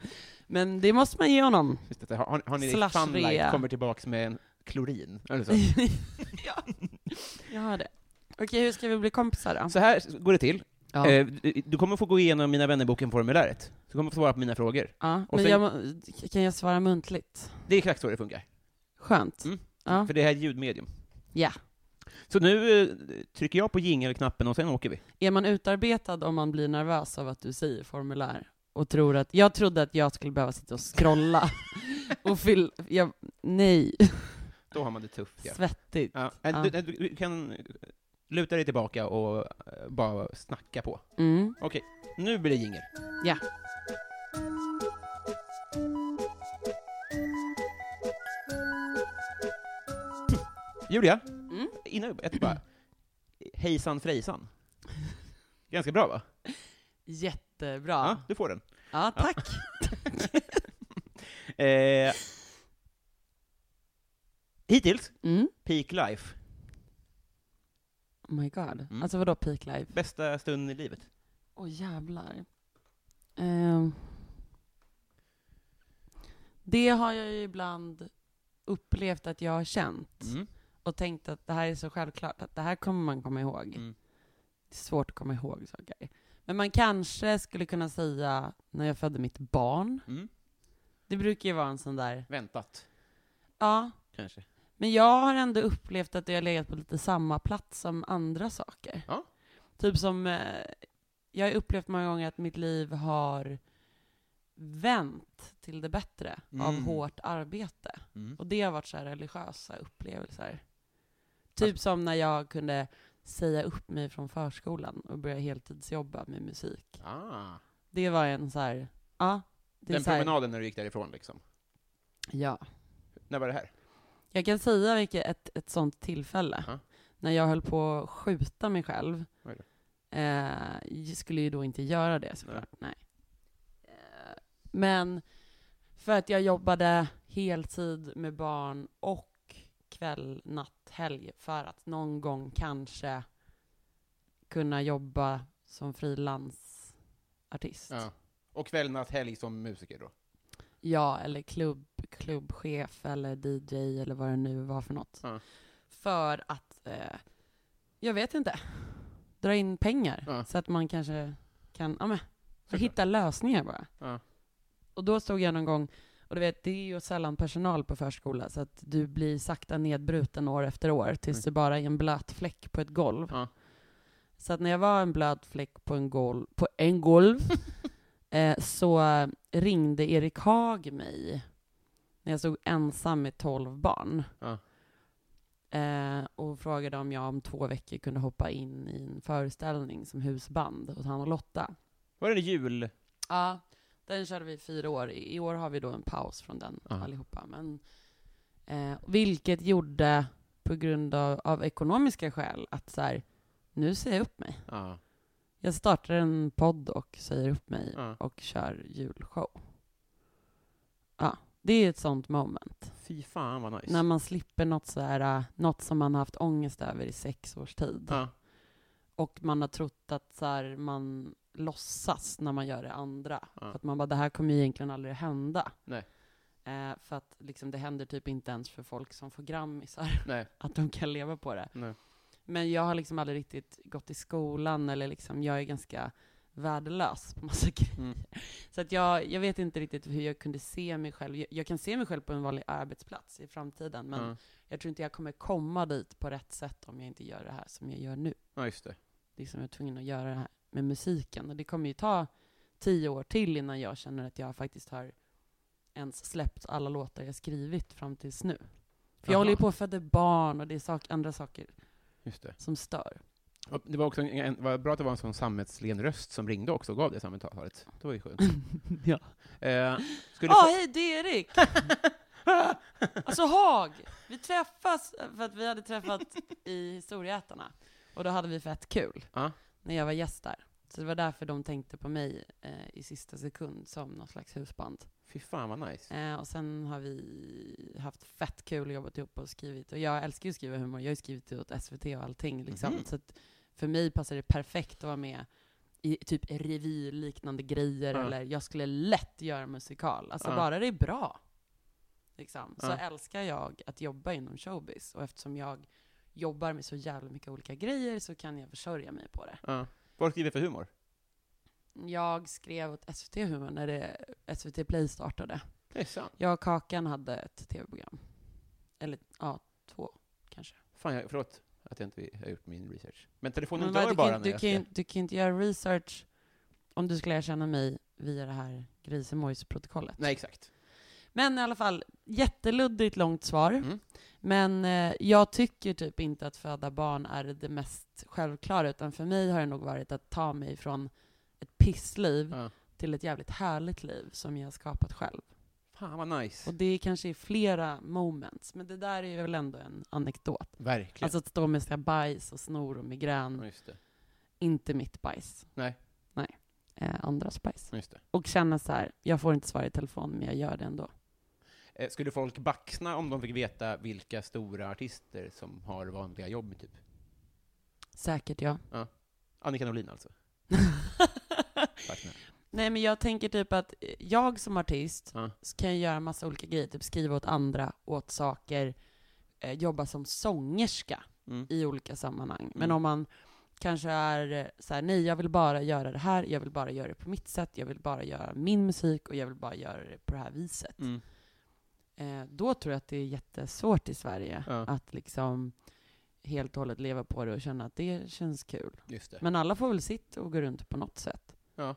[SPEAKER 2] Men det måste man ge honom.
[SPEAKER 1] Just det, har, har- har ni
[SPEAKER 2] Slash
[SPEAKER 1] Sunlight
[SPEAKER 2] rea.
[SPEAKER 1] kommer tillbaks med en klorin? Eller så.
[SPEAKER 2] (laughs) ja, jag har det. Okej, hur ska vi bli kompisar då?
[SPEAKER 1] så här går det till.
[SPEAKER 2] Ja.
[SPEAKER 1] Eh, du- du kommer få gå igenom Mina vännerboken-formuläret. Du kommer få svara på mina frågor.
[SPEAKER 2] ja,
[SPEAKER 1] och
[SPEAKER 2] men
[SPEAKER 1] sen-
[SPEAKER 2] jag, må- kan jag svara muntligt?
[SPEAKER 1] Det är exakt så det funkar.
[SPEAKER 2] Skönt.
[SPEAKER 1] Mm.
[SPEAKER 2] Ja.
[SPEAKER 1] För det här är ljudmedium.
[SPEAKER 2] ja.
[SPEAKER 1] Så nu eh, trycker jag på jingelknappen och sen åker vi.
[SPEAKER 2] Är man utarbetad om man blir nervös av att du säger formulär? Och tror att, jag trodde att jag skulle behöva sitta och (laughs) scrolla och fyll, jag, nej,
[SPEAKER 1] Då har man det tufft, ja.
[SPEAKER 2] svettigt.
[SPEAKER 1] ja. eh,
[SPEAKER 2] Ja.
[SPEAKER 1] Du, eh, du, du kan luta dig tillbaka och eh, bara snacka på.
[SPEAKER 2] Mm.
[SPEAKER 1] Okej, nu blir det jingel.
[SPEAKER 2] Ja.
[SPEAKER 1] Hm. Julia,
[SPEAKER 2] Mm.
[SPEAKER 1] innan jag bara. Hejsan frejsan. Ganska bra va?
[SPEAKER 2] Jättebra.
[SPEAKER 1] Ja,
[SPEAKER 2] Ja,
[SPEAKER 1] du får den.
[SPEAKER 2] tack.
[SPEAKER 1] Eh, hittills,
[SPEAKER 2] Mm.
[SPEAKER 1] peak life.
[SPEAKER 2] Oh my god.
[SPEAKER 1] Mm.
[SPEAKER 2] Alltså vadå peak live?
[SPEAKER 1] Bästa stunden i livet.
[SPEAKER 2] Åh jävlar. Ehm. det har jag ju ibland upplevt att jag har känt
[SPEAKER 1] Mm.
[SPEAKER 2] och tänkt att det här är så självklart, att det här kommer man komma ihåg.
[SPEAKER 1] Mm.
[SPEAKER 2] Det är svårt att komma ihåg saker. Men man kanske skulle kunna säga när jag födde mitt barn.
[SPEAKER 1] Mm.
[SPEAKER 2] Det brukar ju vara en sån där,
[SPEAKER 1] Väntat,
[SPEAKER 2] ja.
[SPEAKER 1] kanske.
[SPEAKER 2] Men jag har ändå upplevt att jag har legat på lite samma plats som andra saker.
[SPEAKER 1] Ja.
[SPEAKER 2] Typ som, eh, jag har upplevt många gånger att mitt liv har vänt till det bättre av
[SPEAKER 1] Mm.
[SPEAKER 2] hårt arbete.
[SPEAKER 1] Mm.
[SPEAKER 2] Och det har varit så här religiösa upplevelser. Typ som när jag kunde säga upp mig från förskolan och börja heltidsjobba med musik.
[SPEAKER 1] Ah,
[SPEAKER 2] Det var en så här, ja. Det är
[SPEAKER 1] den
[SPEAKER 2] så här,
[SPEAKER 1] promenaden när du gick därifrån liksom.
[SPEAKER 2] ja.
[SPEAKER 1] När var det här?
[SPEAKER 2] Jag kan säga vilket ett, ett sånt tillfälle.
[SPEAKER 1] Ja.
[SPEAKER 2] När jag höll på att skjuta mig själv.
[SPEAKER 1] Oj då.
[SPEAKER 2] Eh, jag skulle ju då inte göra det såklart. Nej. Eh, men för att jag jobbade heltid med barn och kväll, natt, helg för att någon gång kanske kunna jobba som frilansartist.
[SPEAKER 1] Ja. Och kväll, natt, helg som musiker då.
[SPEAKER 2] Ja, eller klubb, klubbchef eller DJ eller vad det nu var för något.
[SPEAKER 1] Ja.
[SPEAKER 2] För att, eh, jag vet inte, dra in pengar
[SPEAKER 1] Ja.
[SPEAKER 2] så att man kanske kan, ja men,
[SPEAKER 1] Såklart.
[SPEAKER 2] hitta lösningar bara.
[SPEAKER 1] Ja.
[SPEAKER 2] Och då stod jag någon gång, och du vet, det är ju sällan personal på förskola så att du blir sakta nedbruten år efter år tills
[SPEAKER 1] Mm.
[SPEAKER 2] du bara är en blöt fläck på ett golv.
[SPEAKER 1] Ja.
[SPEAKER 2] Så att när jag var en blöt fläck på en golv, på
[SPEAKER 1] (laughs)
[SPEAKER 2] en golv eh, så ringde Erik Haag mig när jag stod ensam med tolv barn.
[SPEAKER 1] Ja.
[SPEAKER 2] Eh, och frågade om jag om två veckor kunde hoppa in i en föreställning som husband hos han och Lotta.
[SPEAKER 1] Var det en jul?
[SPEAKER 2] Ja, den körde vi i fyra år. I i år har vi då en paus från den
[SPEAKER 1] Ja.
[SPEAKER 2] allihopa. Men, eh, vilket gjorde, på grund av, av ekonomiska skäl, att så här, nu säger jag upp mig.
[SPEAKER 1] Ja.
[SPEAKER 2] Jag startar en podd och säger upp mig
[SPEAKER 1] Ja.
[SPEAKER 2] och kör julshow. Ja, det är ett sånt moment.
[SPEAKER 1] Fy fan vad nice.
[SPEAKER 2] När man slipper något, så här, äh, något som man har haft ångest över i sex års tid.
[SPEAKER 1] ja.
[SPEAKER 2] Och man har trott att så här, man låtsas när man gör det andra.
[SPEAKER 1] Ja.
[SPEAKER 2] För att man bara, det här kommer ju egentligen aldrig hända.
[SPEAKER 1] Nej.
[SPEAKER 2] Eh, för att liksom, det händer typ inte ens för folk som får grammisar
[SPEAKER 1] Nej.
[SPEAKER 2] att de kan leva på det.
[SPEAKER 1] Nej.
[SPEAKER 2] Men jag har liksom aldrig riktigt gått i skolan eller liksom, jag är ganska värdelös på massa (laughs) grejer.
[SPEAKER 1] Mm.
[SPEAKER 2] Så att jag, jag vet inte riktigt hur jag kunde se mig själv. Jag, jag kan se mig själv på en vanlig arbetsplats i framtiden, men
[SPEAKER 1] Ja.
[SPEAKER 2] jag tror inte jag kommer komma dit på rätt sätt om jag inte gör det här som jag gör nu.
[SPEAKER 1] ja, just det.
[SPEAKER 2] Liksom jag är tvungen att göra det här med musiken. Och det kommer ju ta tio år till innan jag känner att jag faktiskt har ens släppt alla låtar jag skrivit fram tills nu. För jag
[SPEAKER 1] Jaha.
[SPEAKER 2] håller ju på och föder barn och det är sak, andra saker
[SPEAKER 1] Just det.
[SPEAKER 2] som stör.
[SPEAKER 1] Och det var också en, en, var bra att det var en sån sammetslen röst som ringde också och gav det samtalet. Det var ju skönt.
[SPEAKER 2] Mm. Ja.
[SPEAKER 1] Eh, skulle
[SPEAKER 2] Ja,
[SPEAKER 1] få-
[SPEAKER 2] hej, det är
[SPEAKER 1] (laughs)
[SPEAKER 2] Erik! alltså Haag! Vi träffas för att vi hade träffat i Historieätarna. Och då hade vi fett kul.
[SPEAKER 1] Ja.
[SPEAKER 2] När jag var gäst där. Så det var därför de tänkte på mig eh, i sista sekund som någon slags husband.
[SPEAKER 1] Fy fan vad nice.
[SPEAKER 2] Eh, och sen har vi haft fett kul och jobbat ihop och skrivit. Och jag älskar ju att skriva humor. Jag har ju skrivit det åt SVT och allting. Liksom.
[SPEAKER 1] Mhm.
[SPEAKER 2] Så att för mig passar det perfekt att vara med i typ revyliknande grejer.
[SPEAKER 1] Ja.
[SPEAKER 2] Eller jag skulle lätt göra musikal. Alltså
[SPEAKER 1] Ja.
[SPEAKER 2] bara det är bra. Liksom. Så
[SPEAKER 1] Ja.
[SPEAKER 2] älskar jag att jobba inom showbiz. Och eftersom jag jobbar med så jävla mycket olika grejer så kan jag försörja mig på det.
[SPEAKER 1] Ja. Vad skriver du för humor?
[SPEAKER 2] Jag skrev åt SVT Humor när det, SVT Play startade.
[SPEAKER 1] Det är sant.
[SPEAKER 2] Jag och Kakan hade ett tv-program. Eller ja, två kanske.
[SPEAKER 1] Fan, jag, förlåt att jag inte har gjort min research. Men telefonen
[SPEAKER 2] Men vad,
[SPEAKER 1] dör
[SPEAKER 2] du,
[SPEAKER 1] bara
[SPEAKER 2] kan,
[SPEAKER 1] när
[SPEAKER 2] du,
[SPEAKER 1] jag
[SPEAKER 2] kan, ju-
[SPEAKER 1] ska-
[SPEAKER 2] du kan inte göra research om du skulle erkänna mig via det här grisemojs-protokollet.
[SPEAKER 1] Nej, exakt.
[SPEAKER 2] Men i alla fall, jätteluddigt långt svar.
[SPEAKER 1] Mm.
[SPEAKER 2] Men eh, jag tycker typ inte att föda barn är det mest självklara, utan för mig har det nog varit att ta mig från ett pissliv
[SPEAKER 1] Ja.
[SPEAKER 2] till ett jävligt härligt liv som jag har skapat själv.
[SPEAKER 1] Fan vad nice.
[SPEAKER 2] Och det kanske är flera moments, men det där är väl ändå en anekdot.
[SPEAKER 1] Verkligen.
[SPEAKER 2] Alltså mm. att stå med sina bajs och snor och migrän.
[SPEAKER 1] Ja, just det.
[SPEAKER 2] Inte mitt bajs.
[SPEAKER 1] Nej.
[SPEAKER 2] Nej. Eh, andras bajs.
[SPEAKER 1] Ja, Just det.
[SPEAKER 2] Och känna så här, jag får inte svara i telefon, men jag gör det ändå.
[SPEAKER 1] Eh, Skulle folk baxna om de fick veta vilka stora artister som har vanliga jobb, typ?
[SPEAKER 2] Säkert
[SPEAKER 1] (laughs)
[SPEAKER 2] ja.
[SPEAKER 1] Annika Norlin alltså. Baxna.
[SPEAKER 2] Nej, men jag tänker typ att eh, jag som artist
[SPEAKER 1] Ja.
[SPEAKER 2] s- kan ju göra massa olika grejer. Typ skriva åt andra, åt saker, eh, jobba som sångerska
[SPEAKER 1] Mm.
[SPEAKER 2] i olika sammanhang. Men
[SPEAKER 1] Mm.
[SPEAKER 2] om man kanske är eh, så här, nej, jag vill bara göra det här, jag vill bara göra det på mitt sätt, jag vill bara göra min musik och jag vill bara göra det på det här viset.
[SPEAKER 1] Mm.
[SPEAKER 2] Eh, då tror jag att det är jättesvårt i Sverige
[SPEAKER 1] Ja.
[SPEAKER 2] att liksom helt och hållet leva på det och känna att det känns kul.
[SPEAKER 1] Just det.
[SPEAKER 2] Men alla får väl sitt och gå runt på något sätt.
[SPEAKER 1] Ja.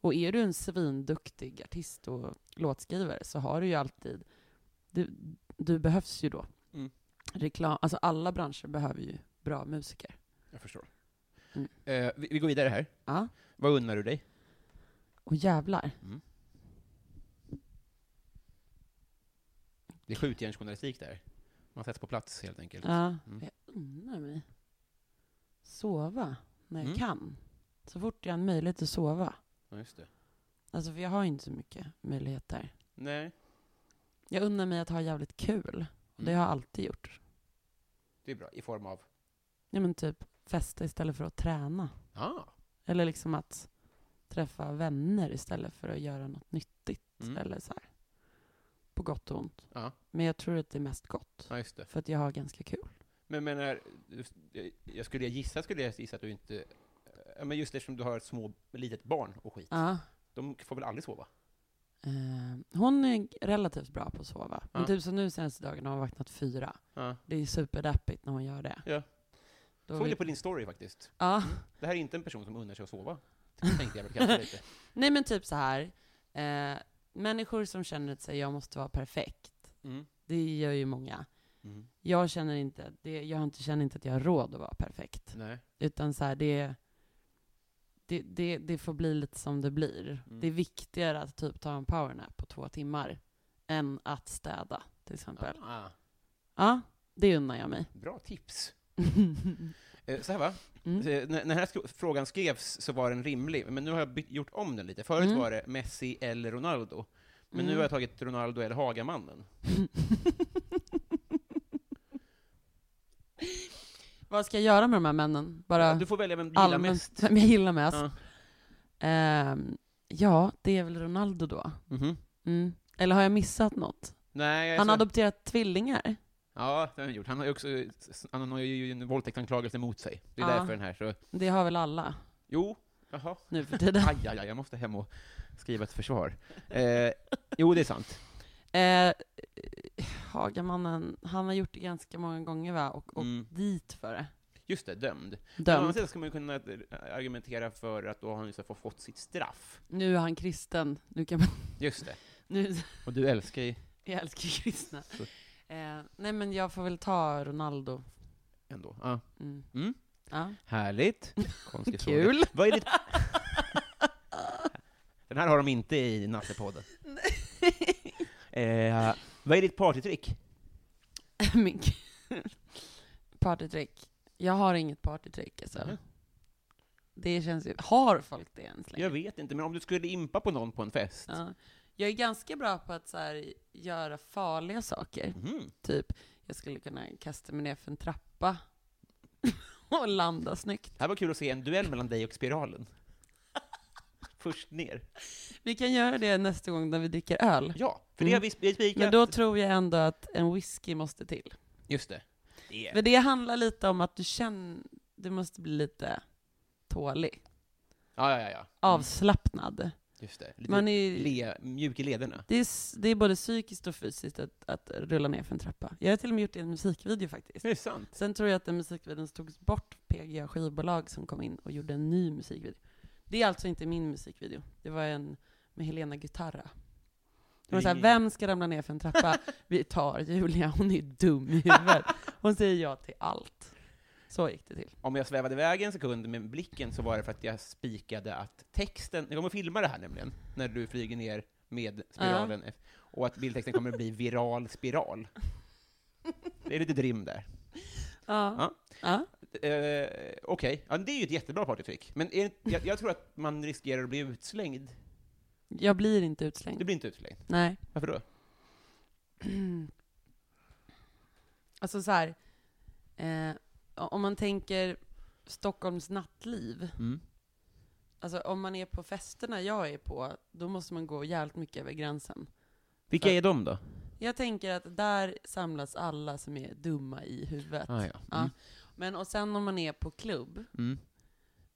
[SPEAKER 2] Och är du en svinduktig artist och låtskrivare så har du ju alltid, du, du behövs ju då.
[SPEAKER 1] Mm.
[SPEAKER 2] Reklam, alltså alla branscher behöver ju bra musiker.
[SPEAKER 1] Jag förstår.
[SPEAKER 2] Mm.
[SPEAKER 1] Eh, vi, vi går vidare här.
[SPEAKER 2] Ja.
[SPEAKER 1] Vad unnar du dig?
[SPEAKER 2] Och jävlar.
[SPEAKER 1] Det är skjutjärnsjournalistik där. Man sätts på plats helt enkelt.
[SPEAKER 2] Ja.
[SPEAKER 1] Mm.
[SPEAKER 2] Jag unnar mig sova när jag
[SPEAKER 1] Mm.
[SPEAKER 2] kan. Så fort jag har en möjlighet att sova.
[SPEAKER 1] Ja, just det.
[SPEAKER 2] Alltså för jag har ju inte så mycket möjligheter.
[SPEAKER 1] Nej,
[SPEAKER 2] Jag unnar mig att ha jävligt kul. Och Det
[SPEAKER 1] Mm.
[SPEAKER 2] har jag alltid gjort.
[SPEAKER 1] det är bra. I form av...
[SPEAKER 2] Ja men typ festa istället för att träna.
[SPEAKER 1] Ah.
[SPEAKER 2] Eller liksom att träffa vänner istället för att göra något nyttigt.
[SPEAKER 1] Mm.
[SPEAKER 2] Eller så här. På gott och ont.
[SPEAKER 1] Ja.
[SPEAKER 2] Men jag tror att det är mest gott.
[SPEAKER 1] Ja, just det.
[SPEAKER 2] För att jag har ganska kul.
[SPEAKER 1] Men menar, just- jag- jag skulle gissa, skulle jag gissa att du inte... Ja, men just eftersom du har ett små, litet barn och skit.
[SPEAKER 2] Ja.
[SPEAKER 1] De får väl aldrig sova?
[SPEAKER 2] Eh, hon är relativt bra på att sova. Men
[SPEAKER 1] Ja.
[SPEAKER 2] typ som nu senaste dagen har hon vaknat fyra.
[SPEAKER 1] Ja.
[SPEAKER 2] Det är superdeppigt när hon gör det.
[SPEAKER 1] Ja.
[SPEAKER 2] Då
[SPEAKER 1] Såg
[SPEAKER 2] vill-
[SPEAKER 1] det på Mm. din story faktiskt.
[SPEAKER 2] Ja.
[SPEAKER 1] Det här är inte en person som unnar sig att sova. Det tänkte jag väl (laughs) kanske lite.
[SPEAKER 2] Nej men typ så här. Eh, människor som känner att säga, jag måste vara perfekt.
[SPEAKER 1] Mm.
[SPEAKER 2] Det gör ju många.
[SPEAKER 1] Mm.
[SPEAKER 2] Jag känner inte, att det, jag har inte- känner inte att jag har råd att vara perfekt.
[SPEAKER 1] Nej.
[SPEAKER 2] Utan så här, det, det, det, det får bli lite som det blir.
[SPEAKER 1] Mm.
[SPEAKER 2] Det är viktigare att typ ta en powernap på två timmar än att städa, till exempel. Ja,
[SPEAKER 1] Ah,
[SPEAKER 2] det unnar jag mig. (laughs)
[SPEAKER 1] bra tips. Eh, Så här va?
[SPEAKER 2] Mm.
[SPEAKER 1] Eh, När när den här sk- frågan skrevs så var den rimlig, men nu har jag bytt, gjort om den lite. Förut
[SPEAKER 2] Mm.
[SPEAKER 1] var det Messi eller Ronaldo, men nu
[SPEAKER 2] Mm.
[SPEAKER 1] har jag tagit Ronaldo eller Hagamannen.
[SPEAKER 2] Vad ska jag göra med de här männen?
[SPEAKER 1] Ja,
[SPEAKER 2] Bara
[SPEAKER 1] Du får välja vem du gillar
[SPEAKER 2] allmänt,
[SPEAKER 1] mest.
[SPEAKER 2] vem (laughs) jag gillar mest?
[SPEAKER 1] Ja.
[SPEAKER 2] Ehm, ja, det är väl Ronaldo då.
[SPEAKER 1] Mhm.
[SPEAKER 2] Mm. Eller har jag missat något?
[SPEAKER 1] Nej, jag
[SPEAKER 2] Han
[SPEAKER 1] sa-
[SPEAKER 2] har adopterat tvillingar.
[SPEAKER 1] Ja, det har han gjort. Han har ju också, han har ju en våldtäktsanklagelse mot sig. Det är
[SPEAKER 2] Ja.
[SPEAKER 1] därför den här, så...
[SPEAKER 2] Det har väl alla
[SPEAKER 1] Jo, jaha.
[SPEAKER 2] nu
[SPEAKER 1] (laughs)
[SPEAKER 2] för tiden.
[SPEAKER 1] Aj, aj, aj, jag måste hem och skriva ett försvar. Eh, jo, det är sant.
[SPEAKER 2] Eh, Hagamannen, han har gjort det ganska många gånger va? Och, och
[SPEAKER 1] Mm.
[SPEAKER 2] dit för det.
[SPEAKER 1] Just det, dömd. På annat
[SPEAKER 2] Dömd.
[SPEAKER 1] sätt ska man ju kunna eh, argumentera för att då har han ju så få- fått sitt straff.
[SPEAKER 2] Nu är han kristen. Nu kan man... (laughs)
[SPEAKER 1] Just det.
[SPEAKER 2] Nu, (laughs)
[SPEAKER 1] Och du älskar ju
[SPEAKER 2] jag älskar ju kristna.
[SPEAKER 1] Så.
[SPEAKER 2] Eh, nej men jag får väl ta Ronaldo.
[SPEAKER 1] ändå. Ja.
[SPEAKER 2] Mm.
[SPEAKER 1] Mm.
[SPEAKER 2] Ja.
[SPEAKER 1] Härligt. (laughs) Konstig fråga.
[SPEAKER 2] Kul. (laughs)
[SPEAKER 1] Vad är ditt... Den här har de inte i (laughs) Nattepodden. eh, vad är ditt partytrick?
[SPEAKER 2] Min gud. Partytrick. Jag har inget partytrick alltså.
[SPEAKER 1] Mhm.
[SPEAKER 2] Det känns ju... Har folk det ens längre?
[SPEAKER 1] Jag vet inte, men om du skulle impa på någon på en fest?
[SPEAKER 2] Ja. Jag är ganska bra på att så här, göra farliga saker.
[SPEAKER 1] Mhm.
[SPEAKER 2] Typ, jag skulle kunna kasta mig ner för en trappa (laughs) och landa snyggt.
[SPEAKER 1] Det här var kul att se en duell mellan dig och Spiralen. Först ner.
[SPEAKER 2] Vi kan göra det nästa gång när vi dricker öl.
[SPEAKER 1] Ja, för det
[SPEAKER 2] Mm.
[SPEAKER 1] har vi sp- vi spikat.
[SPEAKER 2] Men då tror jag ändå att en whisky måste till.
[SPEAKER 1] Just det. det.
[SPEAKER 2] För det handlar lite om att du känner, du måste bli lite tålig,
[SPEAKER 1] Ja, ja, ja, ja.
[SPEAKER 2] avslappnad.
[SPEAKER 1] Just det. Lite
[SPEAKER 2] Man är,
[SPEAKER 1] le, mjuk i lederna.
[SPEAKER 2] det, är, s- det är både psykiskt och fysiskt att, att rulla ner för en trappa. Jag har till och med gjort det i en musikvideo faktiskt.
[SPEAKER 1] Det är sant.
[SPEAKER 2] Sen tror jag att den musikvideon togs bort PGA skivbolag som kom in och gjorde en ny musikvideo. Det är alltså inte min musikvideo. Det var en med Helena Guitarra. Det var såhär,
[SPEAKER 1] Ring-
[SPEAKER 2] vem ska ramla ner för en trappa? Vi tar Julia, hon är dum i huvudet. Hon säger ja till allt. Så gick det till.
[SPEAKER 1] Om jag svävade iväg en sekund med blicken så var det för att jag spikade att texten, jag kommer filma det här nämligen, när du flyger ner med spiralen, och att bildtexten kommer att bli viral spiral. Det är lite drim där.
[SPEAKER 2] Ja. ja.
[SPEAKER 1] Eh, Okej, ja, det är ju ett jättebra partytrick, men är, det- jag, jag tror att man riskerar att bli utslängd.
[SPEAKER 2] Jag blir inte
[SPEAKER 1] Du
[SPEAKER 2] utslängd.
[SPEAKER 1] blir inte utslängd.
[SPEAKER 2] Nej.
[SPEAKER 1] Varför då?
[SPEAKER 2] Alltså så här, eh, om man tänker Stockholms nattliv.
[SPEAKER 1] Mm.
[SPEAKER 2] Alltså om man är på festerna jag är på, då måste man gå jävligt mycket över gränsen.
[SPEAKER 1] Vilka är de då?
[SPEAKER 2] Jag tänker att där samlas alla som är dumma i huvudet.
[SPEAKER 1] Ah, ja.
[SPEAKER 2] Ja.
[SPEAKER 1] Mm.
[SPEAKER 2] Men och sen om man är på klubb
[SPEAKER 1] Mm.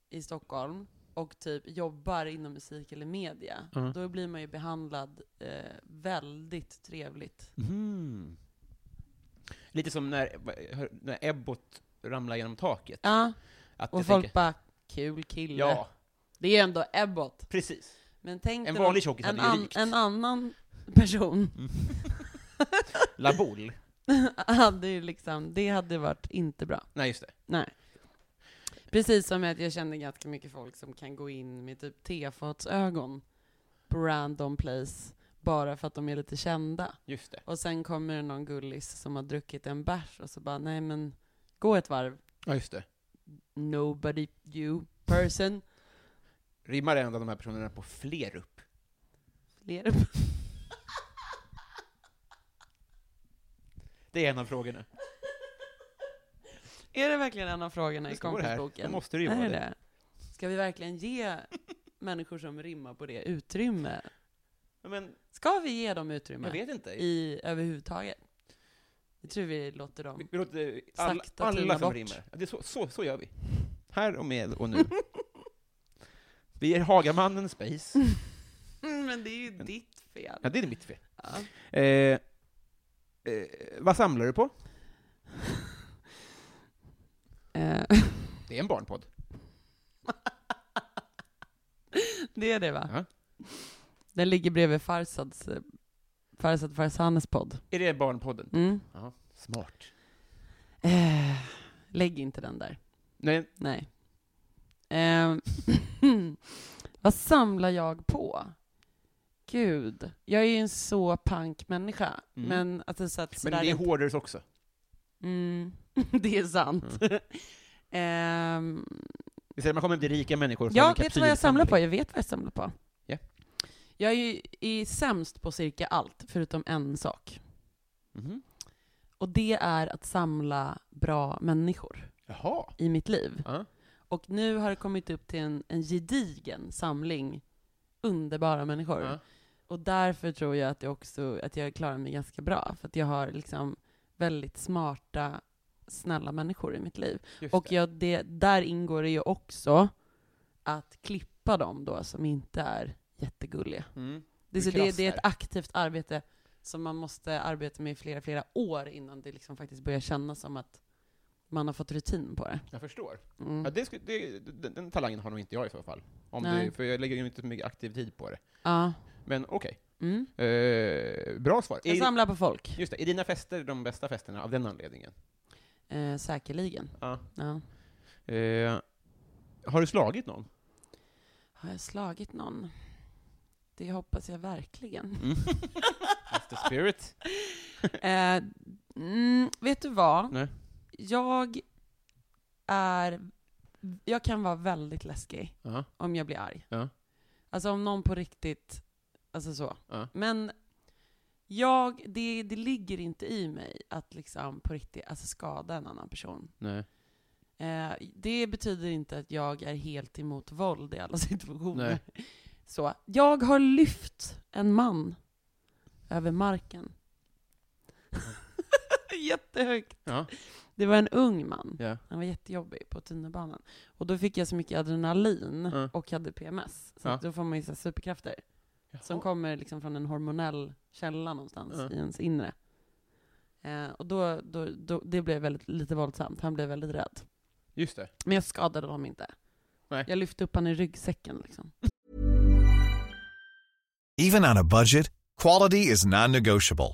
[SPEAKER 2] i Stockholm och typ jobbar inom musik eller media,
[SPEAKER 1] Ja.
[SPEAKER 2] då blir man ju behandlad eh, väldigt trevligt.
[SPEAKER 1] Mhm. Lite som när, hör- när Ebbot ramlar genom taket.
[SPEAKER 2] Ja,
[SPEAKER 1] Att
[SPEAKER 2] och
[SPEAKER 1] jag
[SPEAKER 2] folk
[SPEAKER 1] tänker-
[SPEAKER 2] bara 'kul kille'
[SPEAKER 1] Ja,
[SPEAKER 2] Det är ju ändå Ebbot.
[SPEAKER 1] precis.
[SPEAKER 2] Men tänk
[SPEAKER 1] En
[SPEAKER 2] dig
[SPEAKER 1] vanlig tjockis
[SPEAKER 2] en,
[SPEAKER 1] hade ju
[SPEAKER 2] an,
[SPEAKER 1] rykt.
[SPEAKER 2] en annan person (laughs)
[SPEAKER 1] La Boule.
[SPEAKER 2] hade ju liksom, det hade varit inte bra.
[SPEAKER 1] Nej, just det.
[SPEAKER 2] Nej. Precis som att jag känner ganska mycket folk som kan gå in med typ tefatsögon på random place bara för att de är lite kända.
[SPEAKER 1] Just det.
[SPEAKER 2] Och sen kommer det någon gullis som har druckit en bärs och så bara nej men gå ett varv,
[SPEAKER 1] Ja, just det.
[SPEAKER 2] nobody you person.
[SPEAKER 1] Rimmar en av de här personerna på fler upp?
[SPEAKER 2] Ler (laughs) upp.
[SPEAKER 1] Det är en av frågorna.
[SPEAKER 2] Är det verkligen en av frågorna
[SPEAKER 1] Det
[SPEAKER 2] i
[SPEAKER 1] står här. Då
[SPEAKER 2] kompisboken?
[SPEAKER 1] måste det ju vara det.
[SPEAKER 2] är det? Ska vi verkligen ge människor som rimmar på det utrymme?
[SPEAKER 1] Men
[SPEAKER 2] Ska vi ge dem
[SPEAKER 1] jag
[SPEAKER 2] utrymme
[SPEAKER 1] vet inte.
[SPEAKER 2] i, överhuvudtaget? Jag tror vi låter dem
[SPEAKER 1] Vi vi låter all,
[SPEAKER 2] Sakta
[SPEAKER 1] alla
[SPEAKER 2] tina
[SPEAKER 1] som
[SPEAKER 2] bort.
[SPEAKER 1] rimmar. Ja, Det är så, så, så gör vi. Här och med
[SPEAKER 2] (laughs)
[SPEAKER 1] och nu. Vi ger Hagamannen space.
[SPEAKER 2] Mm, Men det är ju
[SPEAKER 1] Men-
[SPEAKER 2] ditt fel.
[SPEAKER 1] Ja, det är mitt fel.
[SPEAKER 2] Ja.
[SPEAKER 1] Eh, eh, vad samlar du på?
[SPEAKER 2] Eh, (laughs)
[SPEAKER 1] Det är en barnpodd.
[SPEAKER 2] det är det va?
[SPEAKER 1] Ja.
[SPEAKER 2] Den ligger bredvid Farsads, eh, Farsad Farsanes podd.
[SPEAKER 1] Är det barnpodden?
[SPEAKER 2] Mm.
[SPEAKER 1] Smart.
[SPEAKER 2] Eh, lägg inte den där.
[SPEAKER 1] Nej,
[SPEAKER 2] Nej. Eh, (laughs) vad samlar jag på? Gud, jag är ju en så punk människa.
[SPEAKER 1] Mm.
[SPEAKER 2] Men alltså så att
[SPEAKER 1] men
[SPEAKER 2] sådär
[SPEAKER 1] det är
[SPEAKER 2] inte-
[SPEAKER 1] hårders också.
[SPEAKER 2] mm, (laughs) det är sant.
[SPEAKER 1] Mm.
[SPEAKER 2] (laughs) Ehm,
[SPEAKER 1] Vi säger att man kommer till rika människor som
[SPEAKER 2] Ja,
[SPEAKER 1] en
[SPEAKER 2] vet du vad jag samlar på?
[SPEAKER 1] kapsylsamling.
[SPEAKER 2] Jag vet vad jag samlar på.
[SPEAKER 1] Ja.
[SPEAKER 2] Jag är ju är sämst på cirka allt, förutom en sak.
[SPEAKER 1] Mhm.
[SPEAKER 2] Och det är att samla bra människor
[SPEAKER 1] Jaha.
[SPEAKER 2] i mitt liv.
[SPEAKER 1] Ja.
[SPEAKER 2] Och nu har det kommit upp till en, en gedigen samling underbara människor.
[SPEAKER 1] Ja.
[SPEAKER 2] Och därför tror jag att jag också att jag klarar mig ganska bra. För att jag har liksom väldigt smarta, snälla människor i mitt liv.
[SPEAKER 1] Just
[SPEAKER 2] Och
[SPEAKER 1] det.
[SPEAKER 2] jag, det, där ingår det ju också att klippa dem då som inte är jättegulliga.
[SPEAKER 1] Mm.
[SPEAKER 2] Det, så
[SPEAKER 1] Du
[SPEAKER 2] det, det är
[SPEAKER 1] krassar.
[SPEAKER 2] ett aktivt arbete som man måste arbeta med i flera, flera år innan det liksom faktiskt börjar kännas som att man har fått rutin på det.
[SPEAKER 1] Jag förstår.
[SPEAKER 2] Mm.
[SPEAKER 1] Ja, det sku, det, den, den talangen har nog inte jag i så fall. Om
[SPEAKER 2] Nej.
[SPEAKER 1] du, för jag lägger ju inte så mycket aktiv tid på det.
[SPEAKER 2] Ja.
[SPEAKER 1] Men okej.
[SPEAKER 2] Mm.
[SPEAKER 1] Eh, bra svar.
[SPEAKER 2] Jag
[SPEAKER 1] Är-
[SPEAKER 2] samlar på folk,
[SPEAKER 1] just det, är dina fester de bästa festerna av den anledningen?
[SPEAKER 2] eh, säkerligen.
[SPEAKER 1] Ja.
[SPEAKER 2] Ja.
[SPEAKER 1] Eh, har du slagit (laughs) någon?
[SPEAKER 2] Har jag slagit någon? Det hoppas jag verkligen.
[SPEAKER 1] Mm. After spirit?
[SPEAKER 2] eh, mm, vet du vad?
[SPEAKER 1] Nej.
[SPEAKER 2] Jag är... Jag kan vara väldigt läskig
[SPEAKER 1] Ja.
[SPEAKER 2] om jag blir arg.
[SPEAKER 1] Ja.
[SPEAKER 2] Alltså om någon på riktigt... Alltså så.
[SPEAKER 1] Ja.
[SPEAKER 2] Men jag, det, det ligger inte i mig att liksom på riktigt alltså skada en annan person.
[SPEAKER 1] Nej.
[SPEAKER 2] Eh, det betyder inte att jag är helt emot våld i alla (laughs) situationer. Så, jag har lyft en man över marken. (laughs) Jättehögt.
[SPEAKER 1] Ja.
[SPEAKER 2] Det var en ung man.
[SPEAKER 1] Ja.
[SPEAKER 2] Han var jättejobbig på tunnelbanan. Och då fick jag så mycket adrenalin
[SPEAKER 1] Ja.
[SPEAKER 2] och hade PMS. Så
[SPEAKER 1] Ja.
[SPEAKER 2] att då får man ju så här superkrafter. Som kommer liksom från en hormonell källa någonstans
[SPEAKER 1] Ja.
[SPEAKER 2] i ens inre. Eh, och då, då, då, det blev väldigt, lite våldsamt. Han blev väldigt rädd.
[SPEAKER 1] Just det.
[SPEAKER 2] Men jag skadade honom inte.
[SPEAKER 1] Nej.
[SPEAKER 2] Jag lyfte upp honom i ryggsäcken liksom.
[SPEAKER 3] Even on a budget, quality is non-negotiable.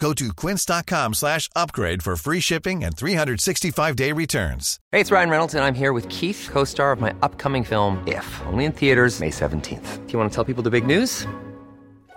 [SPEAKER 3] Go to quince.com slash upgrade for free shipping and 365-day returns.
[SPEAKER 4] Hey, it's Ryan Reynolds, and I'm here with Keith, co star of my upcoming film, If, only in theaters, May 17th. Do you want to tell people the big news?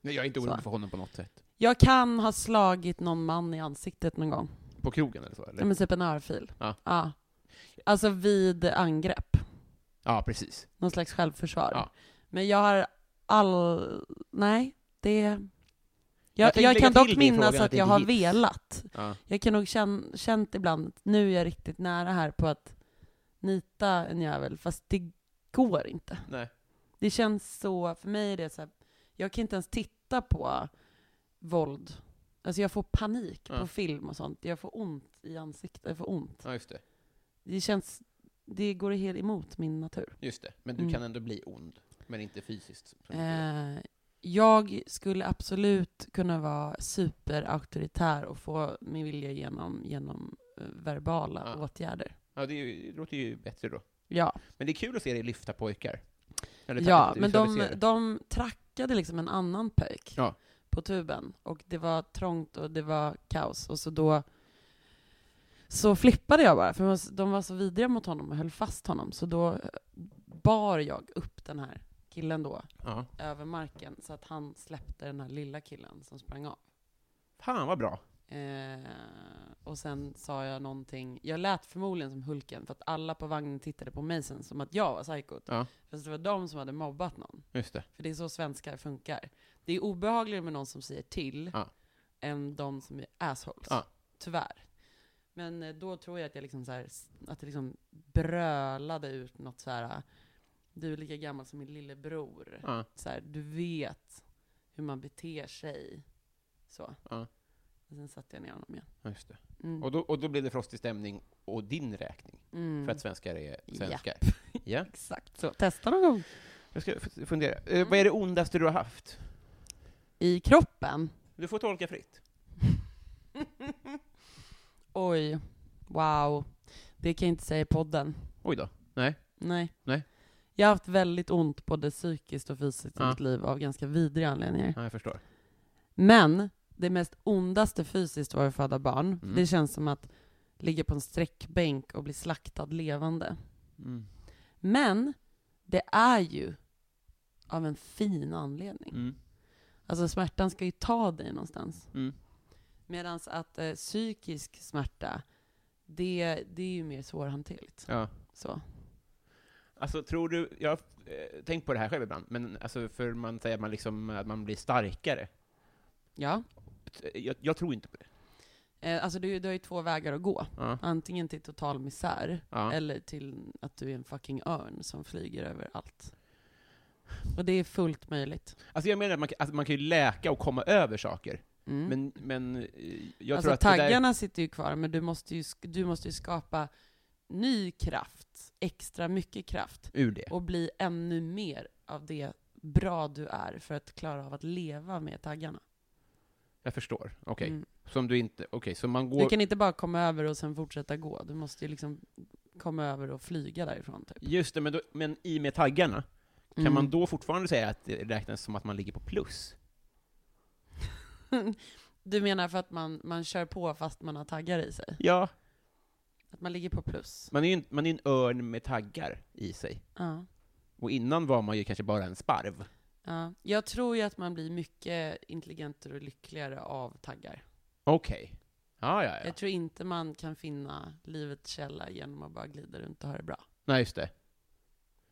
[SPEAKER 1] Nej, jag är inte
[SPEAKER 2] så.
[SPEAKER 1] orolig för honom på något sätt.
[SPEAKER 2] Jag kan ha slagit någon man i ansiktet någon gång.
[SPEAKER 1] På krogen eller så? Eller?
[SPEAKER 2] Ja, men typ en örfil.
[SPEAKER 1] Ja.
[SPEAKER 2] Alltså vid angrepp.
[SPEAKER 1] Ja, precis.
[SPEAKER 2] Någon slags självförsvar.
[SPEAKER 1] Ja.
[SPEAKER 2] Men jag har all... Nej, det... Jag,
[SPEAKER 1] Jag
[SPEAKER 2] jag,
[SPEAKER 1] tänkte lägga
[SPEAKER 2] kan
[SPEAKER 1] till
[SPEAKER 2] dock
[SPEAKER 1] det i
[SPEAKER 2] minnas
[SPEAKER 1] frågan
[SPEAKER 2] att,
[SPEAKER 1] att det
[SPEAKER 2] jag
[SPEAKER 1] inte
[SPEAKER 2] har
[SPEAKER 1] hits.
[SPEAKER 2] velat.
[SPEAKER 1] Ja.
[SPEAKER 2] Jag kan nog känn, känt ibland, att nu är jag riktigt nära här på att nita en jävel, fast det går inte.
[SPEAKER 1] Nej.
[SPEAKER 2] Det känns så, för mig är det så här, jag kan inte ens titta på våld. Alltså jag får panik
[SPEAKER 1] Ja.
[SPEAKER 2] på film och sånt. Jag får ont i ansiktet, jag får ont.
[SPEAKER 1] Ja, just det.
[SPEAKER 2] Det känns, det går helt emot min natur.
[SPEAKER 1] Just det. Men du
[SPEAKER 2] Mm.
[SPEAKER 1] kan ändå bli ond. Men inte fysiskt.
[SPEAKER 2] Eh, jag skulle absolut kunna vara superauktoritär och få min vilja genom, genom eh, verbala
[SPEAKER 1] Ja.
[SPEAKER 2] åtgärder.
[SPEAKER 1] Ja, det, är ju, det låter ju bättre då.
[SPEAKER 2] Ja.
[SPEAKER 1] Men det är kul att se dig lyfta pojkar. Eller
[SPEAKER 2] Ja,
[SPEAKER 1] faktiskt
[SPEAKER 2] men de,
[SPEAKER 1] visualisera.
[SPEAKER 2] de trackade liksom en annan pöjk
[SPEAKER 1] Ja.
[SPEAKER 2] på tuben. Och det var trångt och det var kaos. Och så då så flippade jag bara, för de var så- de var så vidriga mot honom och höll fast honom. Så då eh, bar jag upp den här killen då
[SPEAKER 1] Ja.
[SPEAKER 2] över marken så att han släppte den här lilla killen som sprang av.
[SPEAKER 1] Fan vad bra.
[SPEAKER 2] Eh, och sen sa jag någonting, jag lät förmodligen som Hulken för att alla på vagnen tittade på mig sen som att jag var psykot.
[SPEAKER 1] Ja.
[SPEAKER 2] Fast det var de som hade mobbat någon.
[SPEAKER 1] Just det.
[SPEAKER 2] För det är så svenskar funkar. Det är obehagligare med någon som säger till
[SPEAKER 1] Ja.
[SPEAKER 2] än de som är assholes.
[SPEAKER 1] Ja.
[SPEAKER 2] Tyvärr. Men eh, då tror jag att jag liksom så här, s- att det liksom brölade ut något så här. äh, Du är lika gammal som min lillebror.
[SPEAKER 1] Ja.
[SPEAKER 2] Så här, du vet hur man beter sig. Så.
[SPEAKER 1] Ja.
[SPEAKER 2] Och sen satte jag ner honom igen.
[SPEAKER 1] Ja, Just det.
[SPEAKER 2] Mm.
[SPEAKER 1] Och, då, och då blev det frostig stämning och din räkning.
[SPEAKER 2] Mm.
[SPEAKER 1] För att svenskar är
[SPEAKER 2] Ja.
[SPEAKER 1] svenskar. Ja.
[SPEAKER 2] Exakt så. Testa någon gång.
[SPEAKER 1] Jag ska f- fundera. Eh, vad är det ondaste du har haft?
[SPEAKER 2] I kroppen.
[SPEAKER 1] Du får tolka fritt.
[SPEAKER 2] (laughs) Oj. Wow. Det kan jag inte säga i podden.
[SPEAKER 1] Oj då. Nej.
[SPEAKER 2] Nej.
[SPEAKER 1] Nej.
[SPEAKER 2] Jag har haft väldigt ont både psykiskt och fysiskt
[SPEAKER 1] Ja.
[SPEAKER 2] i mitt liv av ganska vidriga anledningar.
[SPEAKER 1] Ja, jag förstår.
[SPEAKER 2] Men det mest ondaste fysiskt var att föda barn.
[SPEAKER 1] Mm.
[SPEAKER 2] Det känns som att ligga på en sträckbänk och bli slaktad levande.
[SPEAKER 1] Mm.
[SPEAKER 2] Men det är ju av en fin anledning.
[SPEAKER 1] Mm.
[SPEAKER 2] Alltså smärtan ska ju ta dig någonstans.
[SPEAKER 1] Mm.
[SPEAKER 2] Medan att eh, psykisk smärta, det, det är ju mer svårhanterligt.
[SPEAKER 1] Ja.
[SPEAKER 2] Så.
[SPEAKER 1] Alltså, tror du... Jag har eh, tänkt på det här själv ibland, men alltså, för man säger att man, liksom, att man blir starkare.
[SPEAKER 2] Ja.
[SPEAKER 1] Jag, jag tror inte på det.
[SPEAKER 2] Eh, alltså du, du har ju två vägar att gå.
[SPEAKER 1] Ja.
[SPEAKER 2] Antingen till total misär,
[SPEAKER 1] Ja.
[SPEAKER 2] eller till att du är en fucking örn som flyger över allt. Och det är fullt möjligt.
[SPEAKER 1] Alltså jag menar att man, kan- alltså man kan ju läka och komma över saker,
[SPEAKER 2] Mm.
[SPEAKER 1] men, men eh, jag
[SPEAKER 2] alltså
[SPEAKER 1] tror att det
[SPEAKER 2] taggarna sitter ju kvar, men du måste ju, sk- du måste ju skapa ny kraft, extra mycket kraft,
[SPEAKER 1] där, ur det.
[SPEAKER 2] och bli ännu mer av det bra du är för att klara av att leva med taggarna.
[SPEAKER 1] Jag förstår. Okej.
[SPEAKER 2] Mm.
[SPEAKER 1] Som du inte, okej, så man går...
[SPEAKER 2] Du kan inte bara komma över och sen fortsätta gå, du måste ju liksom komma över och flyga därifrån typ.
[SPEAKER 1] Just det, men, då, men i med taggarna, kan
[SPEAKER 2] Mm.
[SPEAKER 1] man då fortfarande säga att det räknas som att man ligger på plus?
[SPEAKER 2] (laughs) Du menar för att man, man kör på fast man har taggar i sig?
[SPEAKER 1] Ja.
[SPEAKER 2] Att man ligger på plus?
[SPEAKER 1] Man är ju en, man är en örn med taggar i sig.
[SPEAKER 2] Ja.
[SPEAKER 1] Och innan var man ju kanske bara en sparv.
[SPEAKER 2] ja. Jag tror ju att man blir mycket intelligentare och lyckligare av taggar.
[SPEAKER 1] Okej. Ja, ja, ja.
[SPEAKER 2] Jag tror inte man kan finna livets källa genom att bara glida runt och ha det bra.
[SPEAKER 1] Nej, just det.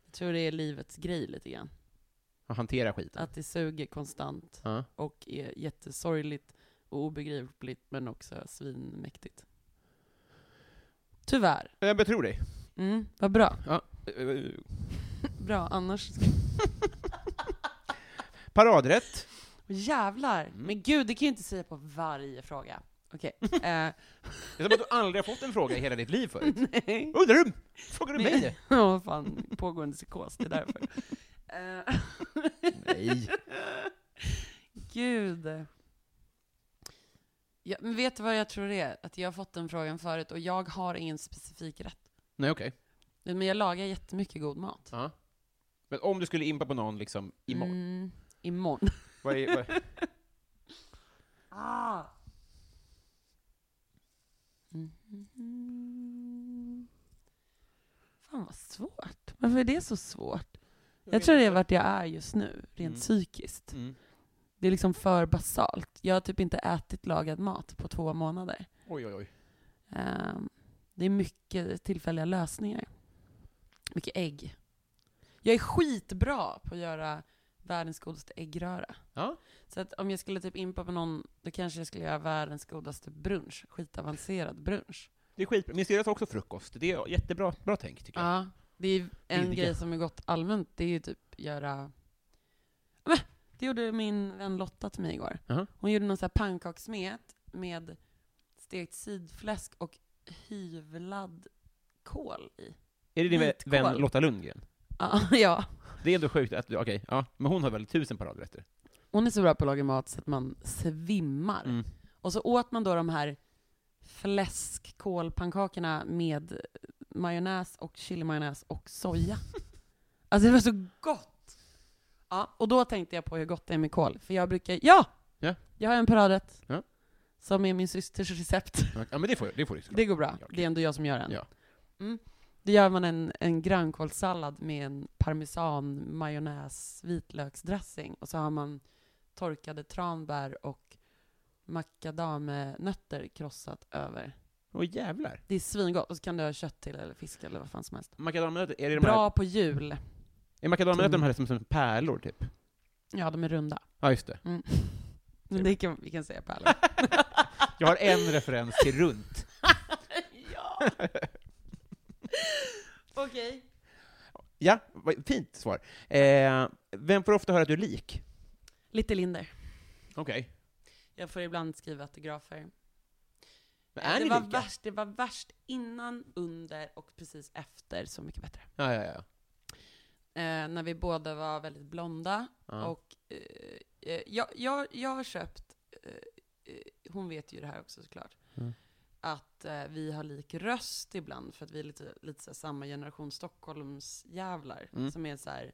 [SPEAKER 2] Jag tror det är livets grej lite grann.
[SPEAKER 1] Att hantera skiten.
[SPEAKER 2] Att det suger konstant
[SPEAKER 1] Ja.
[SPEAKER 2] och är jättesorgligt och obegripligt men också svinmäktigt. Tyvärr.
[SPEAKER 1] Jag betror dig. (laughs)
[SPEAKER 2] Mm, vad bra.
[SPEAKER 1] Eh,
[SPEAKER 2] Bra, annars...
[SPEAKER 1] Paradrätt.
[SPEAKER 2] Jävlar!
[SPEAKER 1] Mm.
[SPEAKER 2] Men gud, det kan jag inte säga på varje fråga. (laughs) Okej. Eh,
[SPEAKER 1] Det är som att du aldrig har fått en fråga i hela ditt liv
[SPEAKER 2] (laughs)
[SPEAKER 1] förut.
[SPEAKER 2] nej.
[SPEAKER 1] Undrar du? Frågar du mig det?
[SPEAKER 2] Ja, vad fan. Pågående psykos, det är (laughs) därför. Eh,
[SPEAKER 1] Nej.
[SPEAKER 2] (laughs) gud. Ja, men vet du vad jag tror det är? Att jag har fått den frågan förut och jag har ingen specifik rätt.
[SPEAKER 1] Nej, okej.
[SPEAKER 2] Men jag lagar jättemycket god mat.
[SPEAKER 1] Ja. Men om du skulle impa på någon liksom imorgon,
[SPEAKER 2] Mm, imorgon.
[SPEAKER 1] vad är, vad,
[SPEAKER 2] Ah. Mm-hmm. Fan vad svårt. Varför är det så svårt? Jag tror det är vart jag är just nu, rent
[SPEAKER 1] Mm.
[SPEAKER 2] psykiskt.
[SPEAKER 1] mm.
[SPEAKER 2] Det är liksom för basalt. Jag har typ inte ätit lagad mat på två månader.
[SPEAKER 1] Oj, oj, oj.
[SPEAKER 2] Ehm, det är mycket tillfälliga lösningar. Mycket ägg. Jag är skitbra på att göra världens godaste äggröra.
[SPEAKER 1] Ja.
[SPEAKER 2] Så att om jag skulle typ impa på någon, då kanske jag skulle göra världens godaste brunch. Skitavancerad brunch.
[SPEAKER 1] Det är skit. Min syrra tar också frukost. Det är jättebra bra tänk, tycker jag.
[SPEAKER 2] Ja, det är ju en
[SPEAKER 1] Billiga.
[SPEAKER 2] grej som är gott allmänt, det är ju typ göra... Men, det gjorde min vän Lotta till mig igår.
[SPEAKER 1] Jaha.
[SPEAKER 2] Hon gjorde någon sån här pannkakssmet med stekt sidfläsk och hyvlad kål i.
[SPEAKER 1] Är det din vä-
[SPEAKER 2] vitkål.
[SPEAKER 1] vän Lotta Lundgren?
[SPEAKER 2] Ja, (laughs) ja.
[SPEAKER 1] Det är ändå sjukt att du, okej, ja. Men hon har väl tusen paradrätter?
[SPEAKER 2] Hon är så bra på att laga mat så att man svimmar.
[SPEAKER 1] Mm.
[SPEAKER 2] Och så åt man då de här fläskkålpannkakorna med majonnäs och chilimajonnäs
[SPEAKER 1] (laughs)
[SPEAKER 2] och soja. Alltså det var så gott! Ja, och då tänkte jag på hur gott det är med kål, för jag brukar, ja!
[SPEAKER 1] Ja.
[SPEAKER 2] Jag har en paradrätt.
[SPEAKER 1] Ja.
[SPEAKER 2] Som är min systers recept.
[SPEAKER 1] Ja, men det får, det får du såklart.
[SPEAKER 2] Det går bra.
[SPEAKER 1] Ja, okej.
[SPEAKER 2] Det är ändå jag som gör den.
[SPEAKER 1] Ja.
[SPEAKER 2] Mm. Då gör man en, en grönkålssallad med en parmesan, majonnäs, vitlöksdressing och så har man torkade tranbär och macadamenötter krossat över.
[SPEAKER 1] Åh jävlar.
[SPEAKER 2] Det är svingott. Och så kan du ha kött till eller fisk eller vad fan som helst.
[SPEAKER 1] Makadamnötter, är det de här,
[SPEAKER 2] Bra Mm. på jul.
[SPEAKER 1] är makadamnötter de här som, som pärlor typ?
[SPEAKER 2] Ja, de är runda.
[SPEAKER 1] Ja, just det.
[SPEAKER 2] Mm. Men det kan, vi kan säga pärlor.
[SPEAKER 1] (laughs) Jag har
[SPEAKER 2] (laughs)
[SPEAKER 1] en referens till runt.
[SPEAKER 2] ja! Okej.
[SPEAKER 1] Ja, vad- fint svar. Eh, vem får ofta höra att du är lik?
[SPEAKER 2] Lite Linder.
[SPEAKER 1] Okej.
[SPEAKER 2] Jag får ibland skriva autografer.
[SPEAKER 1] Men är
[SPEAKER 2] det,
[SPEAKER 1] ni
[SPEAKER 2] var
[SPEAKER 1] lika?
[SPEAKER 2] värst, det var värst innan, under och precis efter Så mycket bättre.
[SPEAKER 1] Ja, ja, ja.
[SPEAKER 2] Eh, när vi båda var väldigt blonda.
[SPEAKER 1] ja.
[SPEAKER 2] Och eh, eh, jag, jag, jag har köpt, eh, eh, hon vet ju det här också såklart,
[SPEAKER 1] Mm.
[SPEAKER 2] att eh, vi har lik röst ibland för att vi är lite, lite så här, samma generation Stockholmsjävlar.
[SPEAKER 1] Mm.
[SPEAKER 2] Som är så här,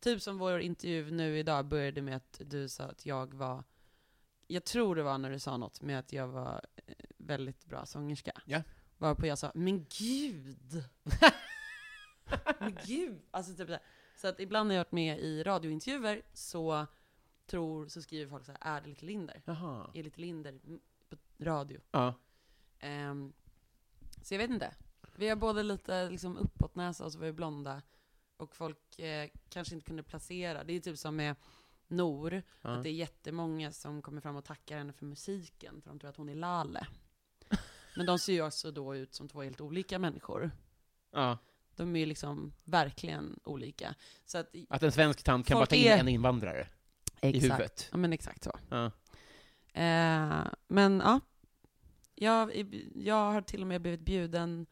[SPEAKER 2] typ som vår intervju nu idag började med att du sa att jag var, jag tror det var när du sa något med att jag var eh, väldigt bra sångerska.
[SPEAKER 1] Ja.
[SPEAKER 2] Varpå jag sa, men gud!
[SPEAKER 1] (laughs)
[SPEAKER 2] men gud! Alltså typ så här. Så att ibland när jag har varit med i radiointervjuer så tror, så skriver folk så här, är det lite Linder?
[SPEAKER 1] Jaha.
[SPEAKER 2] Är lite Linder m- på radio?
[SPEAKER 1] Ja.
[SPEAKER 2] Ehm, så jag vet inte. Vi har både lite liksom uppåtnäsa och så var vi blonda. Och folk eh, kanske inte kunde placera. Det är typ som med Nor,
[SPEAKER 1] Ja.
[SPEAKER 2] att det är jättemånga som kommer fram och tackar henne för musiken, för de tror att hon är Lale. Men de ser ju också då ut som två helt olika människor.
[SPEAKER 1] Ja.
[SPEAKER 2] De är ju liksom verkligen olika. Så att,
[SPEAKER 1] Att en svensk tant kan
[SPEAKER 2] Folk
[SPEAKER 1] backa in
[SPEAKER 2] är-
[SPEAKER 1] en invandrare i huvudet.
[SPEAKER 2] Ja men exakt så.
[SPEAKER 1] Ja.
[SPEAKER 2] Eh, men ja, jag, jag har till och med blivit bjuden,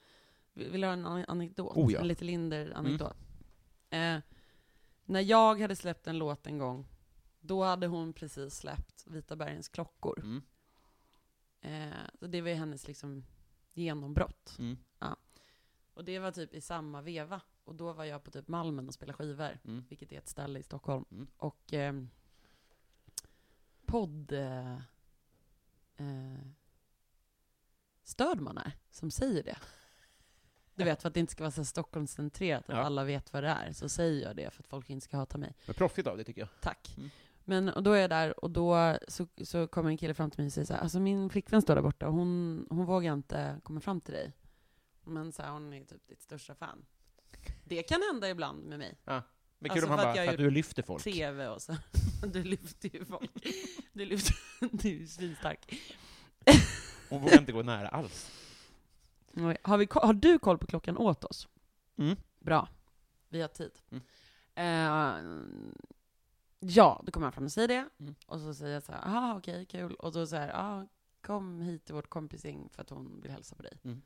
[SPEAKER 2] vill du höra en an- anekdot?
[SPEAKER 1] Oh ja.
[SPEAKER 2] En lite Linder-anekdot. Eh, när jag hade släppt en låt en gång, då hade hon precis släppt Vita bergens klockor.
[SPEAKER 1] Mm.
[SPEAKER 2] Eh, så det var ju hennes liksom genombrott.
[SPEAKER 1] Mm.
[SPEAKER 2] Och det var typ i samma veva. Och då var jag på typ Malmen och spelade skivor,
[SPEAKER 1] Mm.
[SPEAKER 2] vilket är ett ställe i Stockholm.
[SPEAKER 1] Mm.
[SPEAKER 2] Och ehm, podd... Eh, eh, stöd man är som säger det. Du vet, för att det inte ska vara så här Stockholmscentrerat, att
[SPEAKER 1] Ja.
[SPEAKER 2] alla vet vad det är, så säger jag det för att folk inte ska hata mig.
[SPEAKER 1] Men proffsigt av det tycker jag.
[SPEAKER 2] Tack.
[SPEAKER 1] Mm.
[SPEAKER 2] Men och då är jag där och då så, så kommer en kille fram till mig och säger så här, alltså min flickvän står där borta och hon, hon vågar inte komma fram till dig. Men så här, hon är typ ditt största fan. Det kan hända ibland med mig.
[SPEAKER 1] Men kul
[SPEAKER 2] Alltså,
[SPEAKER 1] om han
[SPEAKER 2] för att
[SPEAKER 1] bara,
[SPEAKER 2] jag
[SPEAKER 1] för att
[SPEAKER 2] gjorde
[SPEAKER 1] du lyfter folk.
[SPEAKER 2] TV och så. (laughs) Du lyfter ju folk. Du lyfter, (laughs) du är ju svinstark.
[SPEAKER 1] Hon vågar inte gå nära alls.
[SPEAKER 2] Har, vi, ko- har du koll på klockan åt oss?
[SPEAKER 1] Mm.
[SPEAKER 2] Bra. Vi har tid.
[SPEAKER 1] Mm.
[SPEAKER 2] Eh, ja, då kommer han fram och säger det.
[SPEAKER 1] Mm.
[SPEAKER 2] Och så säger jag så här, ah okej, kul. Och då säger ah kom hit till vårt kompising för att hon vill hälsa på dig.
[SPEAKER 1] Mm.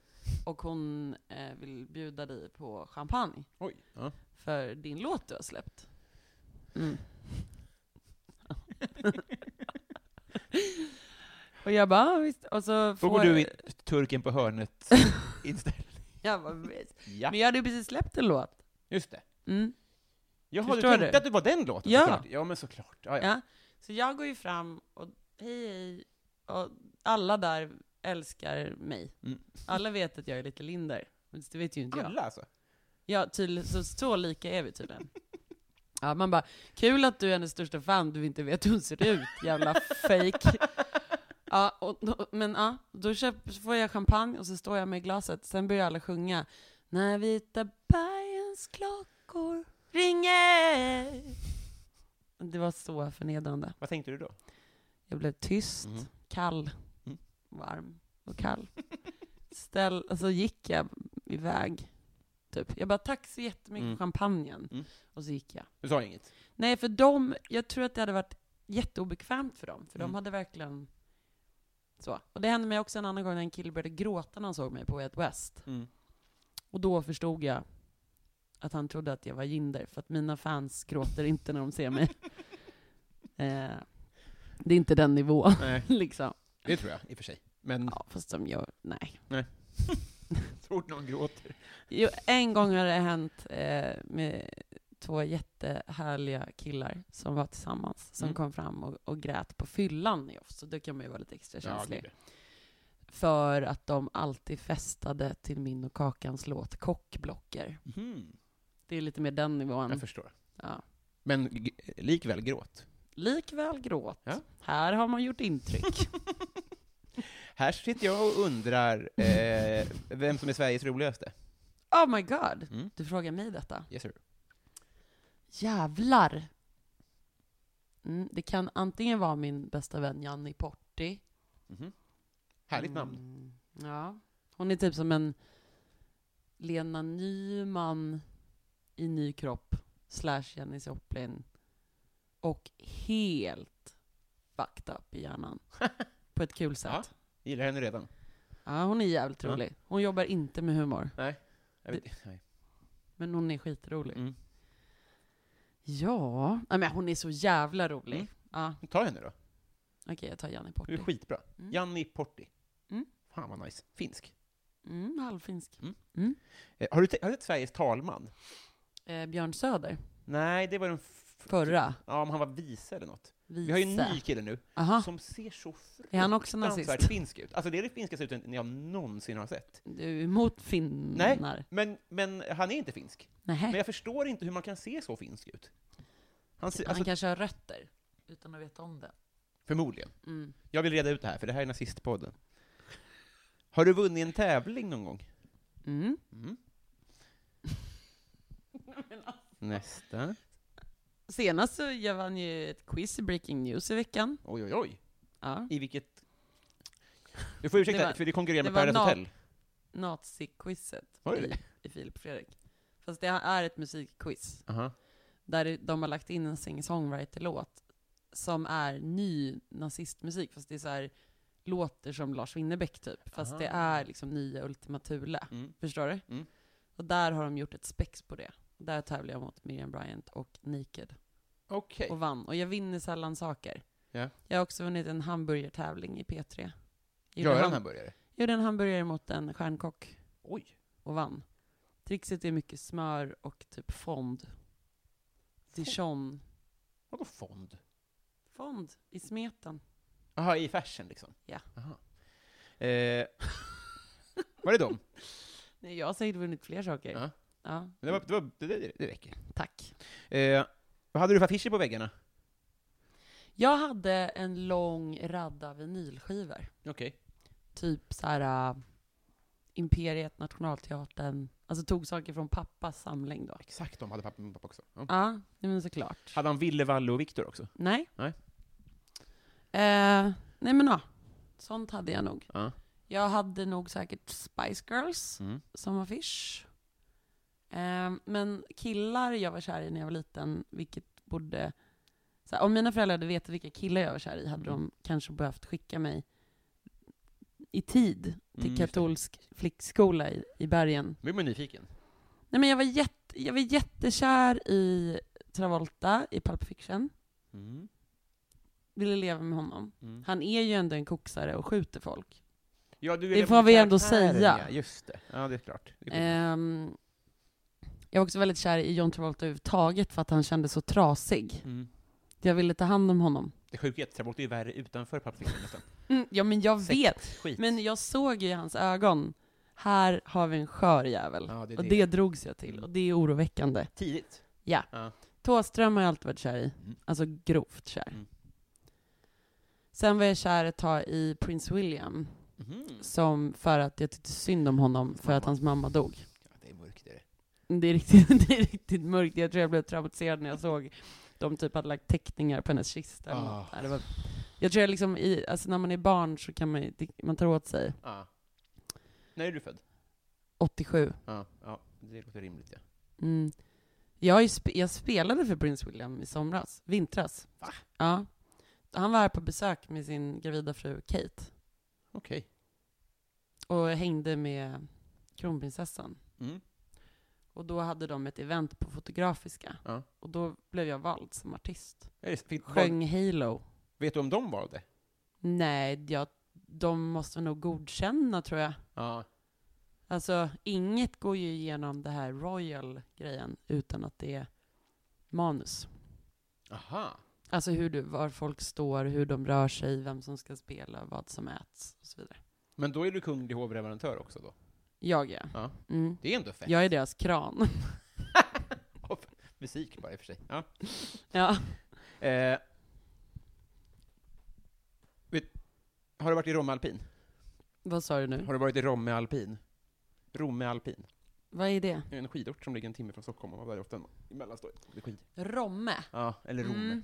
[SPEAKER 2] Och hon eh, vill bjuda dig på champagne
[SPEAKER 1] Oj. Ja.
[SPEAKER 2] för din låt du har släppt. Mm. och jag bara, ah, visst. Och så
[SPEAKER 1] Då
[SPEAKER 2] får
[SPEAKER 1] går du in, turken på
[SPEAKER 2] (laughs)
[SPEAKER 1] hörnet inställd.
[SPEAKER 2] Jag bara, visst.
[SPEAKER 1] Ja,
[SPEAKER 2] Men jag hade ju precis släppt en låt.
[SPEAKER 1] just det.
[SPEAKER 2] Mm.
[SPEAKER 1] Jaha, du
[SPEAKER 2] Förstår
[SPEAKER 1] tänkte
[SPEAKER 2] du?
[SPEAKER 1] att det var den låten?
[SPEAKER 2] Ja.
[SPEAKER 1] såklart. ja men såklart. Ja, ja.
[SPEAKER 2] Ja. Så jag går ju fram och hej hej, och alla där älskar mig.
[SPEAKER 1] Mm.
[SPEAKER 2] Alla vet att jag är lite Linder, men det vet ju inte jag.
[SPEAKER 1] Alla alltså.
[SPEAKER 2] Ja, tydligen, så, så lika är vi tydligen. (laughs) Ja, man bara, kul att du är hennes största fan, du inte vet hur hon ser ut, jävla fake. Ja, och, då- men ja, då köp, så får jag champagne och så står jag med glaset, sen börjar alla sjunga. När vita bergens klockor ringer. Det var så förnedrande.
[SPEAKER 1] Vad tänkte du då?
[SPEAKER 2] Jag blev tyst,
[SPEAKER 1] Mm.
[SPEAKER 2] kall,
[SPEAKER 1] Mm.
[SPEAKER 2] varm och kall. Ställ, alltså gick jag iväg. Typ. Jag bara, tack så jättemycket
[SPEAKER 1] Mm.
[SPEAKER 2] för champagnen.
[SPEAKER 1] Mm.
[SPEAKER 2] Och så gick jag.
[SPEAKER 1] Du sa inget?
[SPEAKER 2] Nej, för dem, jag tror att det hade varit jätteobekvämt för dem. För
[SPEAKER 1] Mm.
[SPEAKER 2] de hade verkligen så. Och det hände mig också en annan gång när en kille började gråta när han såg mig på Way Out West.
[SPEAKER 1] Mm.
[SPEAKER 2] Och då förstod jag att han trodde att jag var ginder, för att mina fans gråter inte när de
[SPEAKER 1] (laughs)
[SPEAKER 2] ser mig. eh, det är inte den nivån, (laughs)
[SPEAKER 1] Nej,
[SPEAKER 2] liksom.
[SPEAKER 1] det tror jag i och för sig. Men
[SPEAKER 2] Ja, fast de gör, nej.
[SPEAKER 1] så fort någon gråter.
[SPEAKER 2] Jo, en gång har det hänt eh, med två jättehärliga killar som var tillsammans, som
[SPEAKER 1] Mm.
[SPEAKER 2] kom fram och, och grät på fyllan i oss, så då kan man ju vara lite extra
[SPEAKER 1] det
[SPEAKER 2] känslig.
[SPEAKER 1] är det.
[SPEAKER 2] för att de alltid festade till min och Kakans låt Kockblocker.
[SPEAKER 1] Mhm,
[SPEAKER 2] Det är lite mer den
[SPEAKER 1] Jag
[SPEAKER 2] nivån.
[SPEAKER 1] förstår.
[SPEAKER 2] Mm. Ja.
[SPEAKER 1] Men g- likväl gråt.
[SPEAKER 2] Likväl gråt.
[SPEAKER 1] Ja.
[SPEAKER 2] Här har man
[SPEAKER 1] (laughs)
[SPEAKER 2] gjort intryck.
[SPEAKER 1] Här sitter jag och undrar eh, vem som är Sveriges roligaste.
[SPEAKER 2] oh my god,
[SPEAKER 1] Mm.
[SPEAKER 2] du frågar mig detta.
[SPEAKER 1] Yes, sir.
[SPEAKER 2] Jävlar! Mm, det kan antingen vara min bästa vän Janni Porti.
[SPEAKER 1] Mhm. Härligt namn.
[SPEAKER 2] Mm, ja. Hon är typ som en Lena Nyman i ny kropp, slash Jenny Joplin. Och helt fucked up
[SPEAKER 1] (laughs)
[SPEAKER 2] i hjärnan. På ett kul sätt.
[SPEAKER 1] Gillar henne redan.
[SPEAKER 2] Ja, hon är jävligt
[SPEAKER 1] Ja.
[SPEAKER 2] rolig. Hon jobbar inte med humor,
[SPEAKER 1] Jag vet, nej.
[SPEAKER 2] men hon är skitrolig.
[SPEAKER 1] Mm.
[SPEAKER 2] Ja, nej, men hon är så jävla rolig.
[SPEAKER 1] Mm.
[SPEAKER 2] Ja,
[SPEAKER 1] Ta henne då.
[SPEAKER 2] okej jag tar Janni
[SPEAKER 1] Du är
[SPEAKER 2] Porti.
[SPEAKER 1] skitbra.
[SPEAKER 2] Mm.
[SPEAKER 1] Janni Porti.
[SPEAKER 2] Mm.
[SPEAKER 1] Fan vad nice. Finsk.
[SPEAKER 2] Mm, halvfinsk.
[SPEAKER 1] Eh, har, du te- har du sett Sveriges talman?
[SPEAKER 2] Eh, Björn Söder,
[SPEAKER 1] Nej, det var den f- typ-
[SPEAKER 2] förra.
[SPEAKER 1] Ja, om han var vice eller något.
[SPEAKER 2] Vice.
[SPEAKER 1] Vi har ju en ny kille nu,
[SPEAKER 2] Aha.
[SPEAKER 1] som ser så
[SPEAKER 2] Ah. Är han också nazist?
[SPEAKER 1] fruktansvärt (laughs) finsk ut. Alltså det är det finskaste utseendet jag någonsin har sett.
[SPEAKER 2] Du är emot finnar? Nej.
[SPEAKER 1] Men, men han är inte finsk. Men
[SPEAKER 2] Nej.
[SPEAKER 1] jag förstår inte hur man kan se så finsk ut. Han ser,
[SPEAKER 2] Typ, Han
[SPEAKER 1] alltså,
[SPEAKER 2] kanske har rötter, utan att veta om det.
[SPEAKER 1] Förmodligen.
[SPEAKER 2] Mm.
[SPEAKER 1] Jag vill reda ut det här, för det här är nazistpodden. Har du vunnit en tävling någon gång?
[SPEAKER 2] Mm.
[SPEAKER 1] Mm. (laughs) Nästa.
[SPEAKER 2] Senast så jag vann ju ett quiz i Breaking News i veckan.
[SPEAKER 1] Oj, oj, oj.
[SPEAKER 2] Ja.
[SPEAKER 1] I vilket... Du får ursäkta,
[SPEAKER 2] Det var-
[SPEAKER 1] för det konkurrerar
[SPEAKER 2] det
[SPEAKER 1] med
[SPEAKER 2] var
[SPEAKER 1] Paradise
[SPEAKER 2] na-
[SPEAKER 1] Hotel.
[SPEAKER 2] Nazi-quizet
[SPEAKER 1] Var det
[SPEAKER 2] i,
[SPEAKER 1] det?
[SPEAKER 2] i Filip och Fredrik. Fast det är ett musikquiz,
[SPEAKER 1] Aha.
[SPEAKER 2] där de har lagt in en singer-songwriter-låt som är ny nazistmusik, fast det är så här låter som Lars Winnerbäck typ, fast det
[SPEAKER 1] Ah.
[SPEAKER 2] är liksom nya Ultima Thule.
[SPEAKER 1] Mm.
[SPEAKER 2] Förstår du?
[SPEAKER 1] Mm.
[SPEAKER 2] Och där har de gjort ett spex på det. Där tävlar jag mot Miriam Bryant och Naked.
[SPEAKER 1] Okej.
[SPEAKER 2] Och vann. Och jag vinner sällan saker.
[SPEAKER 1] Ja.
[SPEAKER 2] Jag har också vunnit en hamburgertävling i P3. Gjorde
[SPEAKER 1] Göran
[SPEAKER 2] ham-
[SPEAKER 1] hamburgare?
[SPEAKER 2] Gjorde en hamburgare mot en stjärnkock
[SPEAKER 1] Oj.
[SPEAKER 2] och vann. Trixet är mycket smör och typ fond. Dijon.
[SPEAKER 1] Vadå fond?
[SPEAKER 2] Fond i smeten.
[SPEAKER 1] Jaha, i fashion liksom?
[SPEAKER 2] Ja.
[SPEAKER 1] Aha. Eh, var det (laughs) dem?
[SPEAKER 2] Nej, jag har säkert vunnit fler saker.
[SPEAKER 1] Ja.
[SPEAKER 2] Ja,
[SPEAKER 1] Det, var, det, var, det, det, det räcker.
[SPEAKER 2] tack.
[SPEAKER 1] Eh, vad hade du för affischer på väggarna?
[SPEAKER 2] Jag hade en lång radda vinylskivor.
[SPEAKER 1] Okej.
[SPEAKER 2] typ så här äh, Imperiet, Nationalteatern. Alltså tog saker från pappas samling då.
[SPEAKER 1] Exakt de hade pappa, min pappa också. Ja.
[SPEAKER 2] Ja, nej men såklart.
[SPEAKER 1] Hade han Ville, Valle och Viktor också?
[SPEAKER 2] Nej.
[SPEAKER 1] Nej.
[SPEAKER 2] Eh, nej men ja, sånt hade jag nog.
[SPEAKER 1] Ja.
[SPEAKER 2] Jag hade nog säkert Spice Girls
[SPEAKER 1] Mm.
[SPEAKER 2] som affisch. Eh, men killar jag var kär i när jag var liten, vilket borde... Så här, om mina föräldrar hade vetat vilka killar jag var kär i hade
[SPEAKER 1] Mm.
[SPEAKER 2] de kanske behövt skicka mig i tid till
[SPEAKER 1] Mm, just det.
[SPEAKER 2] katolsk flickskola i, i bergen.
[SPEAKER 1] Nu blir man nyfiken.
[SPEAKER 2] Nej men jag var, jätte, jag var jättekär i Travolta i Pulp Fiction.
[SPEAKER 1] Mm.
[SPEAKER 2] Ville leva med honom.
[SPEAKER 1] Mm.
[SPEAKER 2] Han är ju ändå en koksare och skjuter folk.
[SPEAKER 1] Ja, du är
[SPEAKER 2] Det
[SPEAKER 1] redan på
[SPEAKER 2] får vi ändå
[SPEAKER 1] karaktären,
[SPEAKER 2] säga.
[SPEAKER 1] Ja, just det. Ja, det är klart. Det är coolt.
[SPEAKER 2] Ehm, jag var också väldigt kär i John Travolta överhuvudtaget för att han kändes så trasig.
[SPEAKER 1] mm.
[SPEAKER 2] Jag ville ta hand om honom.
[SPEAKER 1] Det sjuka är att Travolta är ju värre utanför Pulp Fiction nästan.
[SPEAKER 2] Mm, ja men jag
[SPEAKER 1] Sekt,
[SPEAKER 2] vet.
[SPEAKER 1] Skit.
[SPEAKER 2] Men jag såg ju i hans ögon, här har vi en skör jävel.
[SPEAKER 1] Ja, det är
[SPEAKER 2] och
[SPEAKER 1] det.
[SPEAKER 2] det drogs jag till, och det är oroväckande.
[SPEAKER 1] Tidigt.
[SPEAKER 2] Thåström har jag alltid varit kär i.
[SPEAKER 1] Mm.
[SPEAKER 2] Alltså grovt kär.
[SPEAKER 1] Mm.
[SPEAKER 2] Sen var jag kär ett tag i Prince William,
[SPEAKER 1] Mhm.
[SPEAKER 2] som för att jag tyckte synd om honom för
[SPEAKER 1] Mamma.
[SPEAKER 2] att hans mamma dog.
[SPEAKER 1] Ja, det är mörkt det är det.
[SPEAKER 2] Det är, riktigt, (laughs) det är riktigt mörkt, jag tror jag blev traumatiserad när jag såg de typ hade lagt teckningar på hennes kista. eller något.
[SPEAKER 1] Ah.
[SPEAKER 2] Nej, Det var, jag tror jag liksom, i, alltså när man är barn så kan man, ju- det- man tar åt sig.
[SPEAKER 1] Ja. När är du född?
[SPEAKER 2] 87.
[SPEAKER 1] Ja, ja det låter rimligt ja.
[SPEAKER 2] Mm. Jag, har ju sp- jag spelade för Prince William i somras, vintras.
[SPEAKER 1] Va?
[SPEAKER 2] Ja. Han var här på besök med sin gravida fru Kate
[SPEAKER 1] Okej.
[SPEAKER 2] och hängde med kronprinsessan.
[SPEAKER 1] Mm.
[SPEAKER 2] Och då hade de ett event på Fotografiska.
[SPEAKER 1] Ja.
[SPEAKER 2] Och då blev jag vald som artist.
[SPEAKER 1] Är det- fick- vad-
[SPEAKER 2] Sjöng Halo.
[SPEAKER 1] Vet du om de valde?
[SPEAKER 2] Nej, jag, de måste nog godkänna tror jag.
[SPEAKER 1] Ja.
[SPEAKER 2] Alltså, inget går ju igenom det här royal-grejen utan att det är manus.
[SPEAKER 1] Aha.
[SPEAKER 2] Alltså hur du, var folk står, hur de rör sig, vem som ska spela, vad som äts och så vidare.
[SPEAKER 1] Men då är du kunglig hovleverantör också då?
[SPEAKER 2] Jag ja.
[SPEAKER 1] Ja.
[SPEAKER 2] Mm.
[SPEAKER 1] Det är ändå fett.
[SPEAKER 2] Jag är deras kran. (laughs)
[SPEAKER 1] Musik bara i och för sig. Ja.
[SPEAKER 2] ja.
[SPEAKER 1] Eh, vet, har du varit i Romme alpin?
[SPEAKER 2] Vad sa du nu?
[SPEAKER 1] Har du varit i Romme alpin? Romme alpin.
[SPEAKER 2] Vad är det?
[SPEAKER 1] Det är En skidort som ligger en timme från Stockholm och man väljer ofta i mellanstadiet. Det är skid.
[SPEAKER 2] Romme.
[SPEAKER 1] Ja, eller Romme.
[SPEAKER 2] Mm.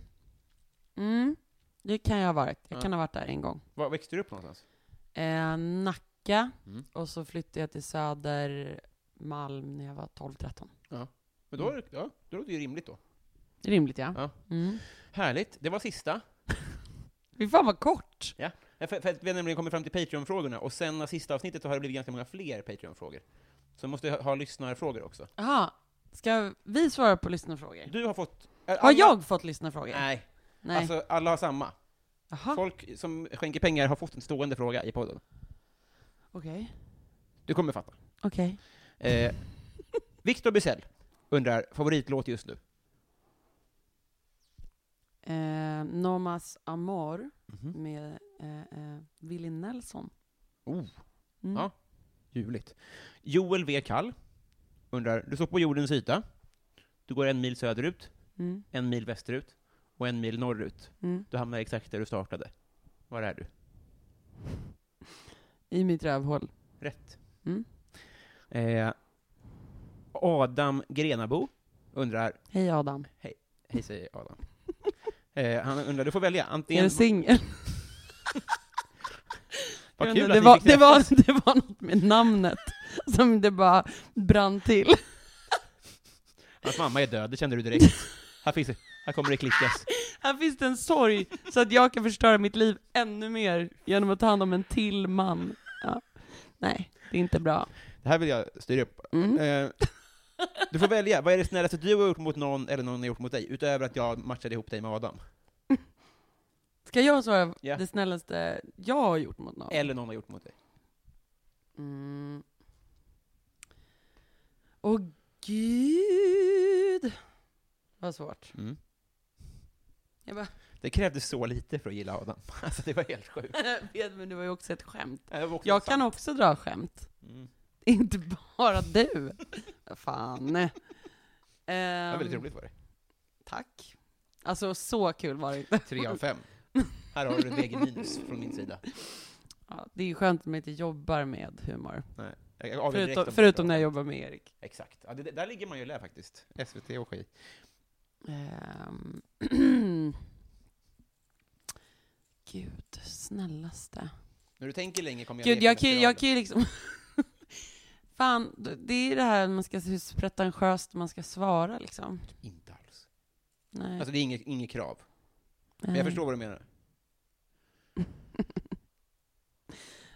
[SPEAKER 2] Mm. Det kan jag ha varit. Jag
[SPEAKER 1] Ja.
[SPEAKER 2] kan ha varit där en gång.
[SPEAKER 1] Var växte du upp någonstans?
[SPEAKER 2] Eh, Nacka.
[SPEAKER 1] Mm.
[SPEAKER 2] Och så flyttade jag till Södermalm när jag var 12-13.
[SPEAKER 1] Men då,
[SPEAKER 2] Mm.
[SPEAKER 1] är det- ja, då låter det ju rimligt då.
[SPEAKER 2] Rimligt ja.
[SPEAKER 1] Ja.
[SPEAKER 2] Mm.
[SPEAKER 1] Härligt. Det var sista.
[SPEAKER 2] Fy fan vad kort!
[SPEAKER 1] Ja, för, för att vi har nämligen kommit fram till Patreon-frågorna, och sen när sista avsnittet så har det blivit ganska många fler Patreon-frågor. Så måste jag ha, ha lyssnarfrågor också.
[SPEAKER 2] Jaha, ska vi svara på lyssnarfrågor?
[SPEAKER 1] Du har fått... är
[SPEAKER 2] Har
[SPEAKER 1] alla-
[SPEAKER 2] jag fått lyssnarfrågor?
[SPEAKER 1] Nej,
[SPEAKER 2] Nej.
[SPEAKER 1] alltså alla har samma.
[SPEAKER 2] Jaha,
[SPEAKER 1] Folk som skänker pengar har fått en stående fråga i podden.
[SPEAKER 2] okej.
[SPEAKER 1] Du kommer fatta.
[SPEAKER 2] Okej.
[SPEAKER 1] Eh, Victor Bysell undrar, favoritlåt just nu?
[SPEAKER 2] Eh, Nomas Amor med eh, eh, Willie Nelson.
[SPEAKER 1] Oh.
[SPEAKER 2] Mm.
[SPEAKER 1] Ja. Ljuvligt. Joel V. Kall undrar, du står på jordens yta, du går en mil söderut,
[SPEAKER 2] Mm.
[SPEAKER 1] en mil västerut och en mil norrut.
[SPEAKER 2] Mm.
[SPEAKER 1] Du hamnar exakt där du startade. Var är du?
[SPEAKER 2] I mitt rövhål.
[SPEAKER 1] Rätt.
[SPEAKER 2] Mm.
[SPEAKER 1] Eh, Adam Grenabo undrar,
[SPEAKER 2] Hej Adam.
[SPEAKER 1] Hej säger Adam. Eh, han undrar, du får välja,
[SPEAKER 2] Är
[SPEAKER 1] antingen...
[SPEAKER 2] du singel?
[SPEAKER 1] Vad
[SPEAKER 2] Jag
[SPEAKER 1] kul
[SPEAKER 2] undrar,
[SPEAKER 1] att
[SPEAKER 2] det,
[SPEAKER 1] ni
[SPEAKER 2] var,
[SPEAKER 1] fick
[SPEAKER 2] det,
[SPEAKER 1] det.
[SPEAKER 2] var, (laughs) det var något med namnet som det bara brann till.
[SPEAKER 1] Hans mamma är död, det kände du direkt. Här, finns det, här kommer det klickas.
[SPEAKER 2] Här finns det en sorg så att jag kan förstöra mitt liv ännu mer genom att ta hand om en till man. Ja. Nej, det är inte bra.
[SPEAKER 1] Det här vill jag styra upp.
[SPEAKER 2] Mm.
[SPEAKER 1] Eh, du får välja, vad är det snällaste du har gjort mot någon eller någon har gjort mot dig, utöver att jag matchade ihop dig med Adam?
[SPEAKER 2] Ska jag svara
[SPEAKER 1] Ja.
[SPEAKER 2] det snällaste jag har gjort mot någon?
[SPEAKER 1] Eller någon har gjort mot dig.
[SPEAKER 2] Mm. Åh gud! Vad svårt.
[SPEAKER 1] Mm.
[SPEAKER 2] Jag bara, (laughs)
[SPEAKER 1] Det krävdes så lite för att gilla Adam. (laughs) Alltså det var helt sjukt.
[SPEAKER 2] jag vet, men det var ju också ett skämt.
[SPEAKER 1] Det var också
[SPEAKER 2] Jag kan
[SPEAKER 1] sant.
[SPEAKER 2] också dra skämt.
[SPEAKER 1] Mm.
[SPEAKER 2] (laughs) Inte bara du. Vad (laughs) Fan. Um,
[SPEAKER 1] Det var väldigt roligt var det.
[SPEAKER 2] Tack. Alltså så kul var det inte.
[SPEAKER 1] Tre av fem. Här har du en väg i minus från min sida.
[SPEAKER 2] Ja, det är skönt att man inte jobbar med humor.
[SPEAKER 1] Nej, jag- jag avgör direkt om
[SPEAKER 2] Förutom,
[SPEAKER 1] det
[SPEAKER 2] förutom
[SPEAKER 1] var-
[SPEAKER 2] när jag jobbar med Erik.
[SPEAKER 1] Exakt. Ja, det, där ligger man ju lä faktiskt. SVT och skit.
[SPEAKER 2] Ehm, (clears throat) Gud, snällaste.
[SPEAKER 1] När du tänker länge kommer jag
[SPEAKER 2] Gud,
[SPEAKER 1] leka
[SPEAKER 2] jag
[SPEAKER 1] med
[SPEAKER 2] kan ju-
[SPEAKER 1] spiralen.
[SPEAKER 2] jag kan ju liksom... (laughs) Fan, det är det här man ska, hur pretentiöst man ska svara liksom.
[SPEAKER 1] Inte alls.
[SPEAKER 2] Nej.
[SPEAKER 1] Alltså det är inget, inget krav. Men
[SPEAKER 2] nej.
[SPEAKER 1] jag förstår vad du menar.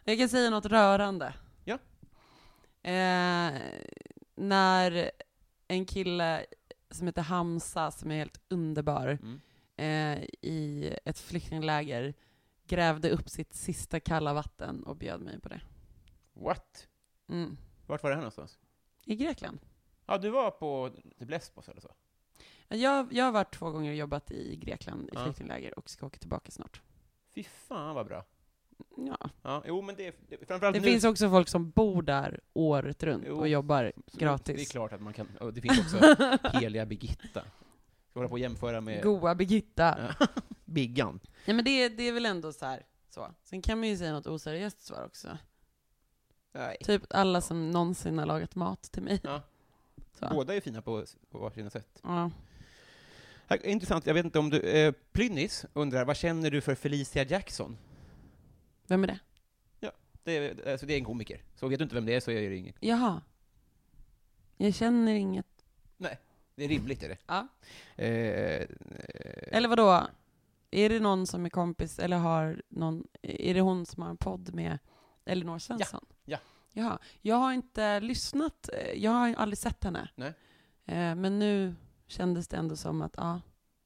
[SPEAKER 2] Jag kan säga något rörande.
[SPEAKER 1] Ja.
[SPEAKER 2] Eh, när en kille som heter Hamza, som är helt underbar,
[SPEAKER 1] Mm.
[SPEAKER 2] eh, i ett flyktingläger grävde upp sitt sista kalla vatten och bjöd mig på det.
[SPEAKER 1] What?
[SPEAKER 2] Mm.
[SPEAKER 1] Vart var det här någonstans?
[SPEAKER 2] I Grekland.
[SPEAKER 1] Ja, du var på typ Lesbos eller så?
[SPEAKER 2] Jag, jag har varit två gånger och jobbat i Grekland i
[SPEAKER 1] Ja.
[SPEAKER 2] flyktingläger och ska åka tillbaka snart.
[SPEAKER 1] Fy fan vad bra.
[SPEAKER 2] Ja.
[SPEAKER 1] Ja, jo men det, det framförallt
[SPEAKER 2] Det
[SPEAKER 1] nu.
[SPEAKER 2] finns också folk som bor där året runt
[SPEAKER 1] Jo.
[SPEAKER 2] och jobbar
[SPEAKER 1] så Det är
[SPEAKER 2] gratis.
[SPEAKER 1] klart att man kan, och det finns
[SPEAKER 2] (laughs)
[SPEAKER 1] också (laughs) heliga Birgitta. Ska hålla på och jämföra med
[SPEAKER 2] Goa Birgitta.
[SPEAKER 1] Ja. (laughs) Biggan.
[SPEAKER 2] Nej men det, det är väl ändå så här. Så. Sen kan man ju säga något oseriöst svar också.
[SPEAKER 1] Nej.
[SPEAKER 2] Typ alla som någonsin har lagat mat till mig.
[SPEAKER 1] Ja.
[SPEAKER 2] Så.
[SPEAKER 1] Båda är fina på, på varsina sätt.
[SPEAKER 2] Ja.
[SPEAKER 1] Här, intressant, jag vet inte om du... Eh, Plynnis undrar, vad känner du för Felicia Jackson?
[SPEAKER 2] Vem är det?
[SPEAKER 1] Det är, alltså, det är en komiker. Så vet du inte vem det är så gör det inget.
[SPEAKER 2] Jaha. Jag känner inget.
[SPEAKER 1] Det är rimligt är det.
[SPEAKER 2] Ja.
[SPEAKER 1] Eh, eh,
[SPEAKER 2] Eller vadå? Är det någon som är kompis eller har någon, är det hon som har en podd med Elinor Svensson?
[SPEAKER 1] Ja.
[SPEAKER 2] Jaha. Jag har inte lyssnat, eh, jag har aldrig sett henne.
[SPEAKER 1] Nej.
[SPEAKER 2] Eh, Men nu kändes det ändå som att, ja,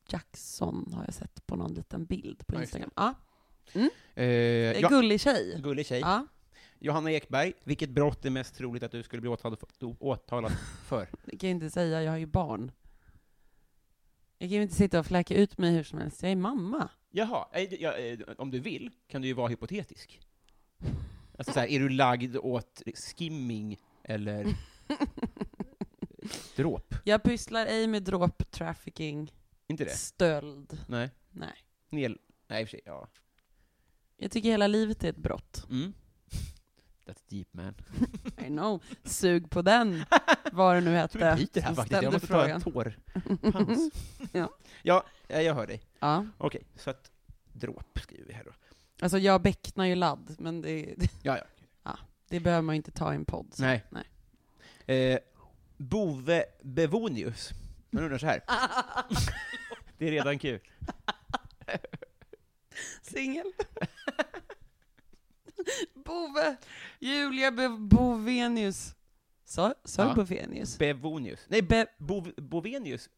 [SPEAKER 2] Jackson har jag sett på någon liten bild på
[SPEAKER 1] Ja, just det.
[SPEAKER 2] Instagram. Ja,
[SPEAKER 1] eh,
[SPEAKER 2] det är
[SPEAKER 1] ja,
[SPEAKER 2] gullig tjej.
[SPEAKER 1] gullig tjej.
[SPEAKER 2] Ja,
[SPEAKER 1] Johanna Ekberg, vilket brott är mest troligt att du skulle bli åtalad för? Åtalad för?
[SPEAKER 2] det kan jag inte säga, jag har ju barn. Jag kan ju inte sitta och fläka ut mig hur som helst, jag är mamma.
[SPEAKER 1] (laughs) Jaha, eh, d- ja, eh, om du vill kan du ju vara hypotetisk. Alltså så här, är du lagd åt skimming eller (laughs) dråp?
[SPEAKER 2] Jag pysslar ej med dråp, trafficking,
[SPEAKER 1] Inte det?
[SPEAKER 2] stöld.
[SPEAKER 1] Nej.
[SPEAKER 2] Nej.
[SPEAKER 1] Nel... Nej, i och för sig, ja.
[SPEAKER 2] Jag tycker hela livet är ett
[SPEAKER 1] (laughs)
[SPEAKER 2] brott.
[SPEAKER 1] Mm. That's deep man.
[SPEAKER 2] I know. Sug på den, vad det nu
[SPEAKER 1] Jag tror vi
[SPEAKER 2] hette.
[SPEAKER 1] bryter här
[SPEAKER 2] som
[SPEAKER 1] faktiskt, jag
[SPEAKER 2] ställde
[SPEAKER 1] måste ta
[SPEAKER 2] frågan.
[SPEAKER 1] en
[SPEAKER 2] (laughs)
[SPEAKER 1] tårpaus.
[SPEAKER 2] Ja.
[SPEAKER 1] ja, eh, jag hör dig.
[SPEAKER 2] Ja.
[SPEAKER 1] Okej, så att dråp skriver vi här då.
[SPEAKER 2] Alltså jag becknar ju ladd, men det,
[SPEAKER 1] Ja, ja.
[SPEAKER 2] det behöver man ju inte ta i en podd. (laughs) så.
[SPEAKER 1] Nej.
[SPEAKER 2] Alltså, Nej.
[SPEAKER 1] Eh, Bove Bevonius. Man undrar så här. det är redan kul.
[SPEAKER 2] Singel. (laughs) Bove. Julia Be- Bovenius. Sa sa jag
[SPEAKER 1] Ja.
[SPEAKER 2] Bovenius?
[SPEAKER 1] Bevonius. Nej,
[SPEAKER 2] Be-
[SPEAKER 1] Bov Bovenius.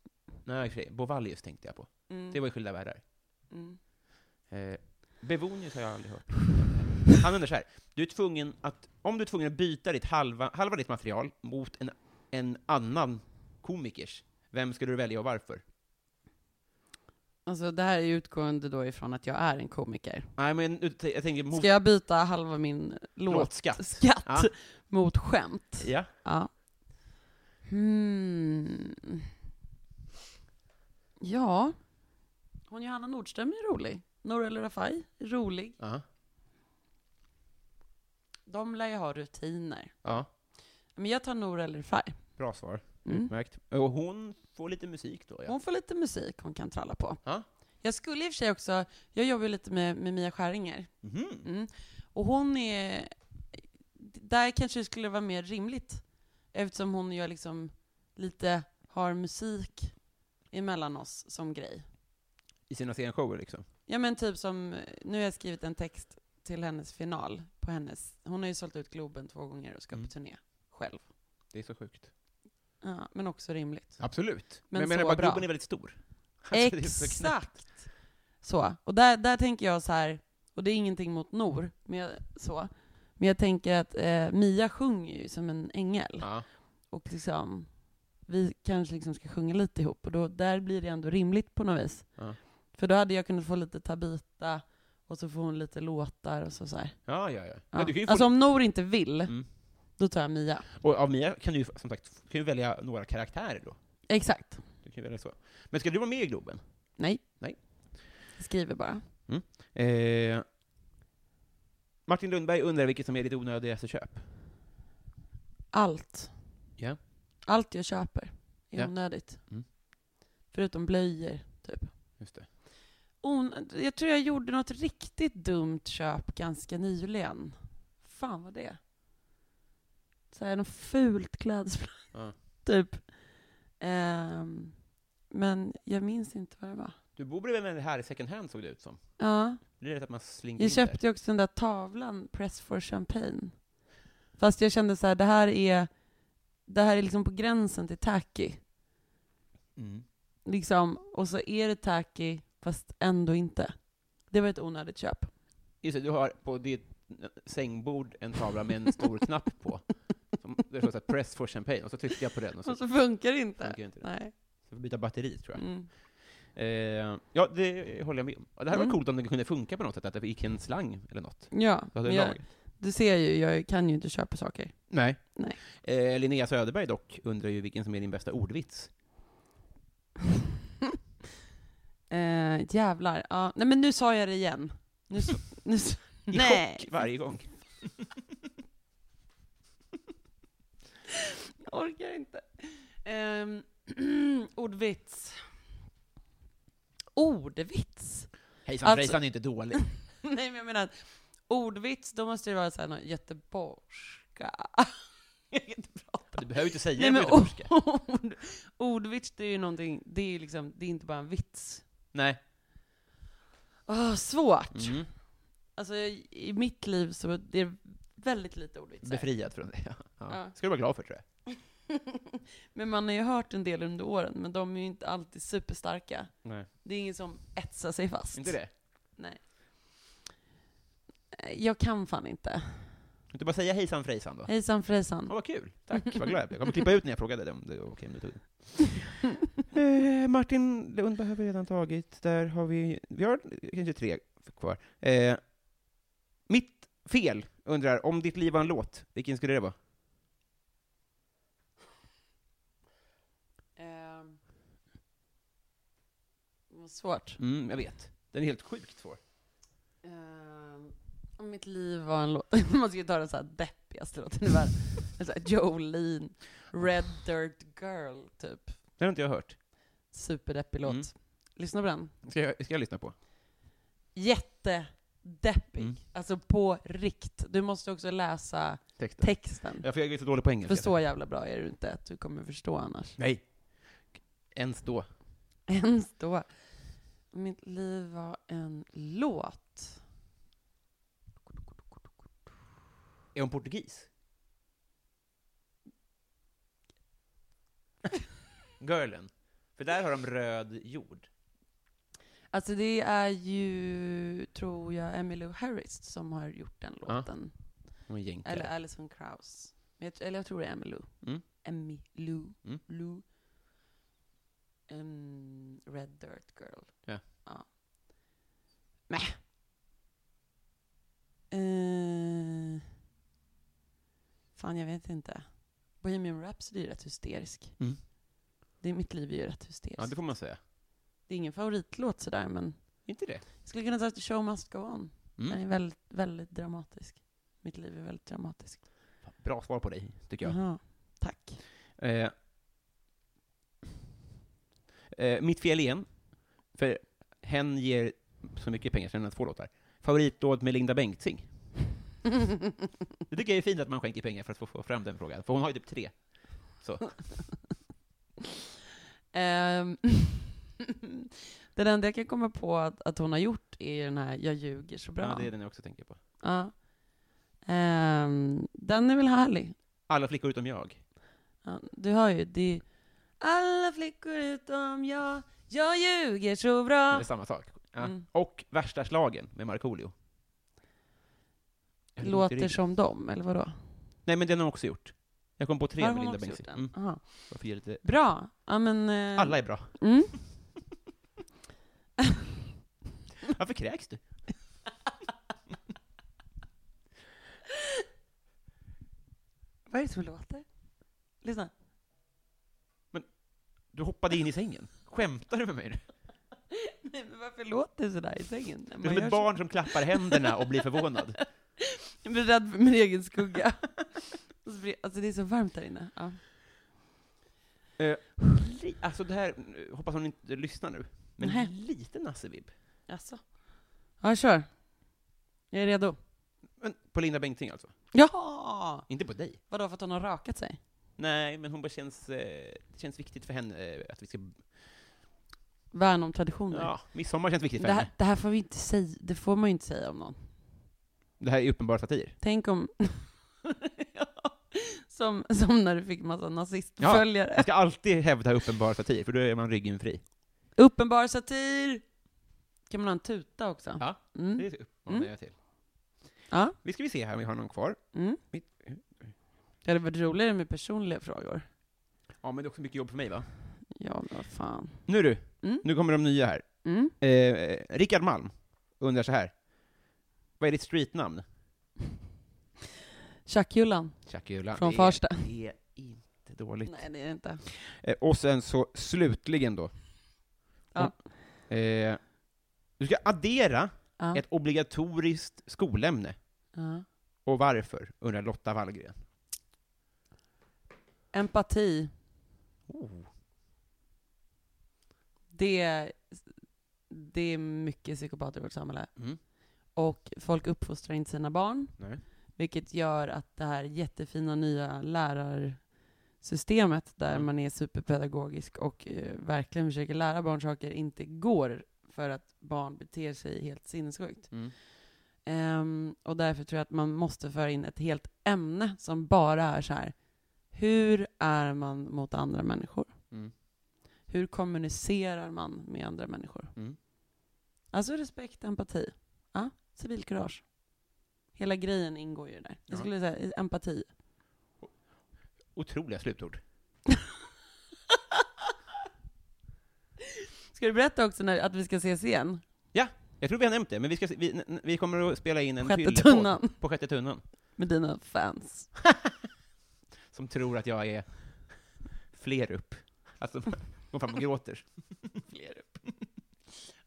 [SPEAKER 1] Nej, i och för sig, Bovallius tänkte jag på.
[SPEAKER 2] mm.
[SPEAKER 1] Det var ju skilda världar.
[SPEAKER 2] mm.
[SPEAKER 1] Eh, Bevonius har jag aldrig hört. Han undrar så här. Du är tvungen att, om du är tvungen att byta ditt halva, halva ditt material mot en, en annan komikers, vem skulle du välja och varför?
[SPEAKER 2] Alltså det här är ju utgående då ifrån att jag är en komiker.
[SPEAKER 1] Nej, men jag tänker mot
[SPEAKER 2] Ska jag byta halva min låt
[SPEAKER 1] låtskatt.
[SPEAKER 2] skatt
[SPEAKER 1] Ja.
[SPEAKER 2] mot skämt?
[SPEAKER 1] Ja.
[SPEAKER 2] Ja. Hmm. Ja. Hon Johanna Nordström är rolig. Norelle Rafai, är rolig.
[SPEAKER 1] Ja.
[SPEAKER 2] De lär ju ha rutiner.
[SPEAKER 1] Ja.
[SPEAKER 2] Men jag tar Norelle Rafai.
[SPEAKER 1] Bra svar.
[SPEAKER 2] Mm.
[SPEAKER 1] Utmärkt. Och hon får lite musik då, ja.
[SPEAKER 2] Hon får lite musik hon kan tralla på.
[SPEAKER 1] Ja.
[SPEAKER 2] Jag skulle i och för sig också, jag jobbar ju lite med, med Mia Skäringer.
[SPEAKER 1] Mhm.
[SPEAKER 2] Mm. Och hon är, där kanske det skulle vara mer rimligt. Eftersom hon ju liksom lite har musik emellan oss som grej.
[SPEAKER 1] I sina scenshower liksom.
[SPEAKER 2] Ja men typ som, nu har jag skrivit en text till hennes final på hennes, hon har ju sålt ut Globen två gånger och ska
[SPEAKER 1] Mm.
[SPEAKER 2] på turné själv.
[SPEAKER 1] Det är så sjukt.
[SPEAKER 2] Ja, men också rimligt.
[SPEAKER 1] Absolut. Men,
[SPEAKER 2] Men
[SPEAKER 1] jag menar
[SPEAKER 2] så
[SPEAKER 1] bara,
[SPEAKER 2] bra.
[SPEAKER 1] gubben är väldigt stor. (laughs) Alltså, det är så knäppt.
[SPEAKER 2] Exakt! Så, och där, där tänker jag så här, och det är ingenting mot Nor, men jag, så. Men jag tänker att eh, Mia sjunger ju som en ängel.
[SPEAKER 1] Ja.
[SPEAKER 2] Och liksom, vi kanske liksom ska sjunga lite ihop, och då, där blir det ändå rimligt på något vis.
[SPEAKER 1] Ja.
[SPEAKER 2] För då hade jag kunnat få lite Tabita, och så får hon lite låtar och så, så här.
[SPEAKER 1] Ja, ja, ja.
[SPEAKER 2] Ja.
[SPEAKER 1] Men du kan ju få...
[SPEAKER 2] Alltså om Nor inte vill,
[SPEAKER 1] Mm.
[SPEAKER 2] då tar jag Mia.
[SPEAKER 1] Och av Mia kan du ju som sagt kan ju välja några karaktärer då.
[SPEAKER 2] Exakt.
[SPEAKER 1] Du kan ju välja så. Men ska du vara med i Globen?
[SPEAKER 2] Nej.
[SPEAKER 1] Nej.
[SPEAKER 2] Jag skriver bara.
[SPEAKER 1] Eh, Martin Lundberg undrar vilket som är ditt onödigaste köp?
[SPEAKER 2] Allt.
[SPEAKER 1] Ja.
[SPEAKER 2] Allt jag köper är
[SPEAKER 1] Ja.
[SPEAKER 2] onödigt.
[SPEAKER 1] Mm.
[SPEAKER 2] Förutom blöjor, typ.
[SPEAKER 1] Just det.
[SPEAKER 2] On jag tror jag gjorde något riktigt dumt köp ganska nyligen. Fan vad det Så här, något fult klädesplagg,
[SPEAKER 1] Ja.
[SPEAKER 2] (laughs) typ. Ehm, men jag minns inte vad det var.
[SPEAKER 1] Du bor bredvid en här i second hand såg det ut som.
[SPEAKER 2] Ja,
[SPEAKER 1] Det är rätt att man slinker
[SPEAKER 2] jag
[SPEAKER 1] in där.
[SPEAKER 2] köpte ju också den där tavlan, Press for Champagne. Fast jag kände så här, det här är, det här är liksom på gränsen till tacky.
[SPEAKER 1] Mm.
[SPEAKER 2] liksom, och så är det tacky, fast ändå inte. Det var ett onödigt köp.
[SPEAKER 1] Just det, du har på ditt sängbord en tavla med en (laughs) stor knapp på. Som, det står så här, 'Press for champagne' och så tryckte jag på den och så
[SPEAKER 2] Och så funkar det inte.
[SPEAKER 1] funkar inte det.
[SPEAKER 2] Nej.
[SPEAKER 1] Så får byta batteri tror jag.
[SPEAKER 2] Mm.
[SPEAKER 1] Eh, ja, det håller jag med om. Och det här var
[SPEAKER 2] Mm.
[SPEAKER 1] coolt om det kunde funka på något sätt, att det gick en slang eller något.
[SPEAKER 2] Ja,
[SPEAKER 1] Då hade
[SPEAKER 2] men
[SPEAKER 1] det
[SPEAKER 2] jag,
[SPEAKER 1] lagat.
[SPEAKER 2] du ser ju, jag kan ju inte köpa saker.
[SPEAKER 1] Nej.
[SPEAKER 2] Nej.
[SPEAKER 1] Eh, Linnea Söderberg dock undrar ju vilken som är din bästa ordvits.
[SPEAKER 2] Eh, jävlar. Ja. Nej men nu sa jag det igen. Nu, så, (laughs) nu, så,
[SPEAKER 1] I
[SPEAKER 2] nej.
[SPEAKER 1] chock varje gång.
[SPEAKER 2] Jag orkar inte. Ehm, (clears throat) ordvits. Ordvits? (laughs)
[SPEAKER 1] Hejsan
[SPEAKER 2] Alltså-
[SPEAKER 1] frejsan är inte dålig.
[SPEAKER 2] nej men jag menar att ordvits, då måste det vara såhär något göteborgska. (laughs) jag kan inte prata.
[SPEAKER 1] Du behöver inte säga
[SPEAKER 2] Nej,
[SPEAKER 1] det
[SPEAKER 2] men
[SPEAKER 1] på göteborgska.
[SPEAKER 2] ord, ordvits, det är ju någonting, det är ju liksom, det är inte bara en vits.
[SPEAKER 1] Nej.
[SPEAKER 2] Åh, svårt!
[SPEAKER 1] Mm.
[SPEAKER 2] Alltså, jag, i mitt liv så är det väldigt lite ordvitsar.
[SPEAKER 1] Befriad från det. Ja. Ja.
[SPEAKER 2] Ja.
[SPEAKER 1] ska du vara glad för tror jag.
[SPEAKER 2] (laughs) men man har ju hört en del under åren, men de är ju inte alltid superstarka.
[SPEAKER 1] Nej.
[SPEAKER 2] Det är ingen som etsar sig fast.
[SPEAKER 1] Inte det?
[SPEAKER 2] Nej. Eh, Jag kan fan inte.
[SPEAKER 1] Kan du inte bara säga hejsan frejsan då?
[SPEAKER 2] Hejsan
[SPEAKER 1] Ja,
[SPEAKER 2] frejsan.
[SPEAKER 1] vad kul. Tack, vad glad jag blev. Jag kommer klippa ut när jag frågade dig om det var okej om du tog det. eh, Martin Lundberg har vi redan tagit. Där har vi, vi har kanske tre kvar. Eh, mitt fel undrar, om ditt liv var en låt, vilken skulle det vara?
[SPEAKER 2] Ehm. Vad svårt.
[SPEAKER 1] Mm, jag vet. Den är helt sjukt svår.
[SPEAKER 2] Ehm, om mitt liv var en låt, (laughs) man ska ju ta den så här deppigaste låten i världen. En så här Jolene, Red Dirt Girl, typ.
[SPEAKER 1] Den har inte jag hört.
[SPEAKER 2] Superdeppig låt.
[SPEAKER 1] Mm.
[SPEAKER 2] Lyssna på den.
[SPEAKER 1] Ska jag, ska jag lyssna på?
[SPEAKER 2] Jättedeppig.
[SPEAKER 1] Mm.
[SPEAKER 2] Alltså på rikt. Du måste också läsa
[SPEAKER 1] Texten.
[SPEAKER 2] texten.
[SPEAKER 1] Ja, för jag är så dålig på engelska.
[SPEAKER 2] För så jävla bra är du inte att du kommer förstå annars. (laughs)
[SPEAKER 1] Nej. Ens då.
[SPEAKER 2] Ens då. Om Mitt liv var en låt.
[SPEAKER 1] Är hon portugis? (laughs) Girlen. För där har de röd jord.
[SPEAKER 2] Alltså det är ju, tror jag, Emmylou Harris som har gjort den
[SPEAKER 1] Ja.
[SPEAKER 2] låten.
[SPEAKER 1] Hon är jänkare.
[SPEAKER 2] Eller Alison Krauss. Men jag, tr- eller jag tror det är Emmylou.
[SPEAKER 1] Mm.
[SPEAKER 2] Emmylou.
[SPEAKER 1] Mm.
[SPEAKER 2] Lou. Ehm, Red Dirt Girl.
[SPEAKER 1] Ja.
[SPEAKER 2] ja. Mäh. Eh, fan, jag vet inte. Bohemian Rhapsody är rätt hysterisk.
[SPEAKER 1] Mm.
[SPEAKER 2] Det är mitt liv är ju rätt hysteriskt.
[SPEAKER 1] Ja, det får man säga.
[SPEAKER 2] det är ingen favoritlåt sådär, men
[SPEAKER 1] Inte det?
[SPEAKER 2] jag skulle kunna säga att Show Must Go On.
[SPEAKER 1] Mm.
[SPEAKER 2] Den är väldigt, väldigt dramatisk. Mitt liv är väldigt dramatiskt.
[SPEAKER 1] Bra svar på dig, tycker jag.
[SPEAKER 2] Jaha, tack.
[SPEAKER 1] Eh, Eh, mitt fel igen, för hen ger så mycket pengar så den har två låtar. Favoritdåd med Linda Bengtzing. Det tycker jag är fint att man skänker pengar för att få- få fram den frågan, för hon har ju typ tre. Så.
[SPEAKER 2] (laughs) Ehm, (laughs) den enda jag kan komma på att, att hon har gjort är ju den här Jag ljuger så bra.
[SPEAKER 1] Ja, det är den jag också tänker på.
[SPEAKER 2] Ja. Ehm, den är väl härlig?
[SPEAKER 1] Alla flickor utom jag.
[SPEAKER 2] Ja, du hör ju, det är alla flickor utom jag, jag ljuger så
[SPEAKER 1] Det
[SPEAKER 2] bra.
[SPEAKER 1] är samma sak. Ja.
[SPEAKER 2] Mm.
[SPEAKER 1] Och Värsta slagen med Markoolio. Jag har ont i
[SPEAKER 2] Låter
[SPEAKER 1] ryggen.
[SPEAKER 2] som dem, eller vadå?
[SPEAKER 1] Nej, men den har hon också gjort. Jag kom på tre
[SPEAKER 2] Har
[SPEAKER 1] med
[SPEAKER 2] hon
[SPEAKER 1] Linda
[SPEAKER 2] också
[SPEAKER 1] Bengtzing.
[SPEAKER 2] gjort den?
[SPEAKER 1] Mm.
[SPEAKER 2] Aha.
[SPEAKER 1] bara för att ge lite-
[SPEAKER 2] Bra. Ja, men, eh,
[SPEAKER 1] Alla är bra. (laughs)
[SPEAKER 2] Mm. (laughs)
[SPEAKER 1] Varför kräks du?
[SPEAKER 2] Vad är det som låter? Lyssna.
[SPEAKER 1] Du hoppade in i sängen. Skämtar du med mig nu?
[SPEAKER 2] Nej, men varför låter det sådär i sängen? när
[SPEAKER 1] Du är
[SPEAKER 2] man
[SPEAKER 1] som
[SPEAKER 2] gör
[SPEAKER 1] ett
[SPEAKER 2] så?
[SPEAKER 1] barn som klappar händerna och blir
[SPEAKER 2] (laughs)
[SPEAKER 1] förvånad.
[SPEAKER 2] Jag blir rädd för min egen skugga. Och så blir- alltså det är så varmt där inne. Ja.
[SPEAKER 1] Eh, li- alltså det här, eh, hoppas hon inte lyssnar nu, men
[SPEAKER 2] Nej.
[SPEAKER 1] lite nassevibb.
[SPEAKER 2] Jaså? Ja, kör. Jag är redo.
[SPEAKER 1] Men på Linda Bengtzing alltså?
[SPEAKER 2] Ja!
[SPEAKER 1] Inte på dig?
[SPEAKER 2] Vadå, för att hon har rakat sig?
[SPEAKER 1] Nej, men hon bara känns, eh, det känns viktigt för henne eh, att vi ska...
[SPEAKER 2] Värn om traditioner.
[SPEAKER 1] Ja, midsommar känns viktigt för
[SPEAKER 2] det,
[SPEAKER 1] henne.
[SPEAKER 2] här, det här får vi inte säga, det får man ju inte säga om någon.
[SPEAKER 1] Det här är uppenbara satir.
[SPEAKER 2] Tänk om... (laughs) ja. som, som när du fick massa nazistföljare.
[SPEAKER 1] Man ska alltid hävda uppenbara satir, för då är man ryggen fri.
[SPEAKER 2] Mm. Uppenbar satir! Kan man ha en tuta också?
[SPEAKER 1] Ja. Det
[SPEAKER 2] Mm.
[SPEAKER 1] är uppmanar
[SPEAKER 2] Mm.
[SPEAKER 1] jag till.
[SPEAKER 2] Ja.
[SPEAKER 1] Vi ska vi se här om vi har någon kvar.
[SPEAKER 2] Mm.
[SPEAKER 1] Mitt-
[SPEAKER 2] Det hade varit roligare med personliga frågor.
[SPEAKER 1] Ja, men det är också mycket jobb för mig va?
[SPEAKER 2] Ja, men vad fan.
[SPEAKER 1] Nu du,
[SPEAKER 2] Mm.
[SPEAKER 1] nu kommer de nya här.
[SPEAKER 2] Mm.
[SPEAKER 1] Eh, Rickard Malm undrar så här. Vad är ditt streetnamn?
[SPEAKER 2] Tjackjullan
[SPEAKER 1] Tjackula.
[SPEAKER 2] från
[SPEAKER 1] Det
[SPEAKER 2] Farsta.
[SPEAKER 1] är inte dåligt.
[SPEAKER 2] Nej, det är det inte.
[SPEAKER 1] Eh, och sen så slutligen då.
[SPEAKER 2] Ja.
[SPEAKER 1] Eh, du ska addera
[SPEAKER 2] Ja.
[SPEAKER 1] ett obligatoriskt skolämne.
[SPEAKER 2] Ja.
[SPEAKER 1] Och varför? Undrar Lotta Wallgren.
[SPEAKER 2] Empati,
[SPEAKER 1] Oh.
[SPEAKER 2] det, det är mycket psykopater i vårt samhälle.
[SPEAKER 1] Mm.
[SPEAKER 2] Och folk uppfostrar inte sina barn,
[SPEAKER 1] Nej.
[SPEAKER 2] vilket gör att det här jättefina nya lärarsystemet, där
[SPEAKER 1] Mm.
[SPEAKER 2] man är superpedagogisk och eh, verkligen försöker lära barn saker, inte går för att barn beter sig helt sinnessjukt.
[SPEAKER 1] Mm.
[SPEAKER 2] Ehm, och därför tror jag att man måste föra in ett helt ämne som bara är så här. Hur är man mot andra människor?
[SPEAKER 1] Mm.
[SPEAKER 2] Hur kommunicerar man med andra människor?
[SPEAKER 1] Mm.
[SPEAKER 2] Alltså respekt, empati. Ja, civilkurage. Hela grejen ingår ju där.
[SPEAKER 1] Ja.
[SPEAKER 2] Jag skulle säga empati.
[SPEAKER 1] Otroliga slutord.
[SPEAKER 2] (laughs) Ska du berätta också när, att vi ska ses igen?
[SPEAKER 1] Jag tror vi har nämnt det, men vi, ska, se- vi, n- n- vi kommer att spela in en
[SPEAKER 2] Sjätte
[SPEAKER 1] fyllepodd
[SPEAKER 2] tunnan.
[SPEAKER 1] På sjätte tunnan.
[SPEAKER 2] Med dina fans.
[SPEAKER 1] Som tror att jag är fler upp. Alltså, (laughs) de fan gråter.
[SPEAKER 2] Fler upp.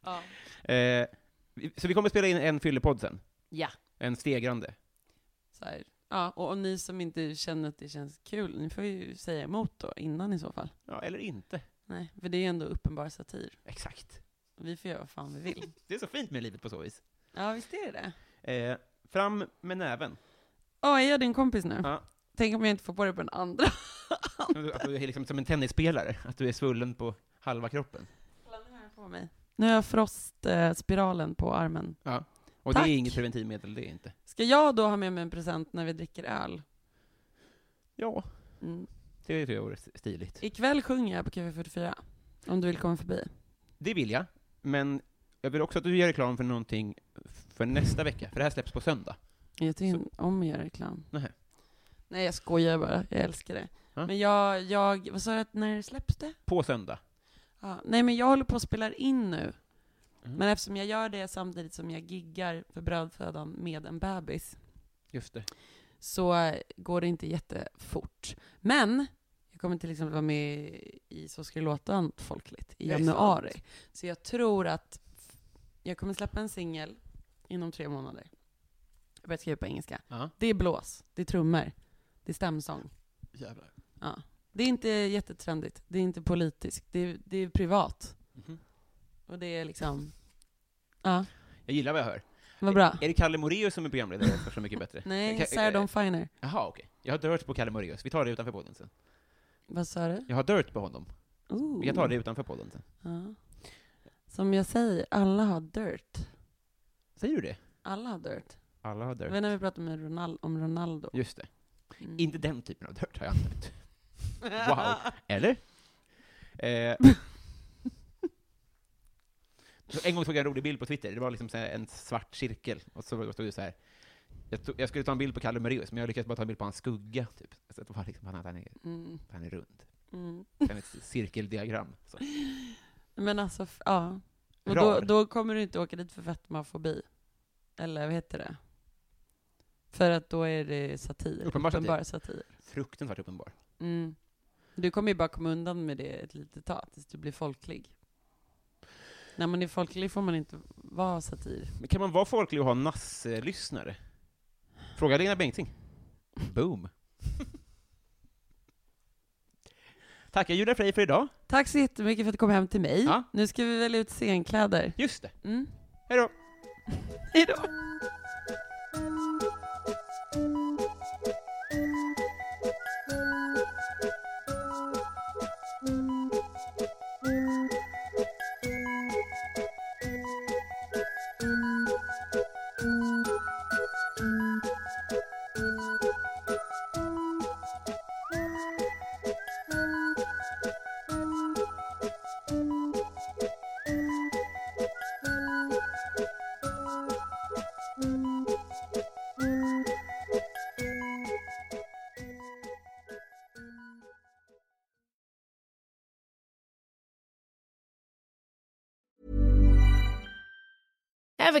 [SPEAKER 2] (laughs) ja.
[SPEAKER 1] Eh, vi- så vi kommer att spela in en fyllepodd sen.
[SPEAKER 2] Ja.
[SPEAKER 1] En stegrande.
[SPEAKER 2] Så här. ja. Och om ni som inte känner att det känns kul, ni får ju säga emot då, innan i så fall.
[SPEAKER 1] Ja, eller inte.
[SPEAKER 2] Nej, för det är ju ändå uppenbar satir.
[SPEAKER 1] Exakt.
[SPEAKER 2] Vi får göra vad fan vi vill.
[SPEAKER 1] Det är så fint med livet på så vis.
[SPEAKER 2] ja, visst är det det.
[SPEAKER 1] Eh, fram med näven.
[SPEAKER 2] Åh, är jag din kompis nu?
[SPEAKER 1] Ja.
[SPEAKER 2] Tänk om jag inte får på det på den andra.
[SPEAKER 1] (laughs) Att du är liksom som en tennisspelare, att du är svullen på halva kroppen.
[SPEAKER 2] Kolla, nu har jag på mig. Nu har jag frostspiralen på armen.
[SPEAKER 1] Och
[SPEAKER 2] Tack.
[SPEAKER 1] det är inget preventivmedel, det är inte.
[SPEAKER 2] Ska jag då ha med mig en present när vi dricker öl?
[SPEAKER 1] Ja,
[SPEAKER 2] Mm.
[SPEAKER 1] det tror jag vore stiligt.
[SPEAKER 2] Ikväll sjunger jag på KV44. Om du vill komma förbi.
[SPEAKER 1] Det vill jag, men jag vill också att du gör reklam för någonting för nästa vecka, för det här släpps på söndag.
[SPEAKER 2] Jag tycker inte om att göra reklam.
[SPEAKER 1] Nähä.
[SPEAKER 2] Nej, jag skojar bara. Jag älskar det.
[SPEAKER 1] Ja.
[SPEAKER 2] Men jag, jag, vad sa jag, att när släpps det?
[SPEAKER 1] På söndag.
[SPEAKER 2] Ja, nej, men jag håller på att spela in nu.
[SPEAKER 1] Mm.
[SPEAKER 2] Men eftersom jag gör det samtidigt som jag giggar för brödfödan med en bebis,
[SPEAKER 1] Just det.
[SPEAKER 2] så eh, går det inte jättefort. Men jag kommer till exempel vara med i Så ska det låta Allt folkligt i
[SPEAKER 1] Det är
[SPEAKER 2] januari. Så jag tror att f- jag kommer släppa en singel inom tre månader. Jag börjar skriva på engelska.
[SPEAKER 1] Ja.
[SPEAKER 2] Det är blås, det är trummor, det är stämsång.
[SPEAKER 1] Jävlar.
[SPEAKER 2] Ja. Det är inte jättetrendigt. Det är inte politiskt. Det är, det är privat.
[SPEAKER 1] Mhm.
[SPEAKER 2] Och det är liksom... Ja,
[SPEAKER 1] Jag gillar vad jag hör.
[SPEAKER 2] vad bra.
[SPEAKER 1] Är det Kalle Moreus som är programledare för Så mycket bättre?
[SPEAKER 2] (laughs) Nej,
[SPEAKER 1] Ka-
[SPEAKER 2] Sarah Dawn Finer.
[SPEAKER 1] Jaha, okej. Jag har dirt på Kalle Moreus. Vi tar det utanför podden sen.
[SPEAKER 2] Vad sa du?
[SPEAKER 1] Jag har dirt på honom.
[SPEAKER 2] Ooh.
[SPEAKER 1] Vi kan ta det utanför podden sen.
[SPEAKER 2] Ja. Som jag säger, alla har dirt.
[SPEAKER 1] Säger du det?
[SPEAKER 2] Alla har dirt.
[SPEAKER 1] Alla har
[SPEAKER 2] Det
[SPEAKER 1] dirt.
[SPEAKER 2] var när vi pratade med Ronal- om Ronaldo.
[SPEAKER 1] Just det.
[SPEAKER 2] Mm.
[SPEAKER 1] Inte den typen av dirt har jag använt. Wow. Eller? Eh. (laughs) Så En gång tog jag en rolig bild på Twitter. Det var liksom så här en svart cirkel. Och så stod det så här. Jag, tog, jag skulle ta en bild på Kalle Moraeus, men jag lyckades bara ta en bild på hans skugga, typ. Så det var liksom, han, han, är,
[SPEAKER 2] (laughs) Mm.
[SPEAKER 1] han är rund.
[SPEAKER 2] Mm.
[SPEAKER 1] Sen ett (laughs) cirkeldiagram. Så.
[SPEAKER 2] Men alltså, f- ja. Och då,
[SPEAKER 1] Rar.
[SPEAKER 2] då kommer du inte åka dit för fetmafobi. Eller vad heter det? För att då är det satir.
[SPEAKER 1] Uppenbar satir.
[SPEAKER 2] Uppenbara satir.
[SPEAKER 1] Fruktansvärt uppenbar.
[SPEAKER 2] Mm. Du kommer ju bara komma undan med det ett litet tag, tills du blir folklig. När man är folklig får man inte vara satir.
[SPEAKER 1] Men kan man vara folklig och ha nasslyssnare? Fråga Lena Bengtzing. (laughs) Boom. Tackar Julia Frey för idag.
[SPEAKER 2] Tack så jättemycket för att du kom hem till mig.
[SPEAKER 1] Ja.
[SPEAKER 2] Nu ska vi välja ut scenkläder.
[SPEAKER 1] Just det.
[SPEAKER 2] Mm.
[SPEAKER 1] Hej då.
[SPEAKER 2] Hejdå!
[SPEAKER 5] Ever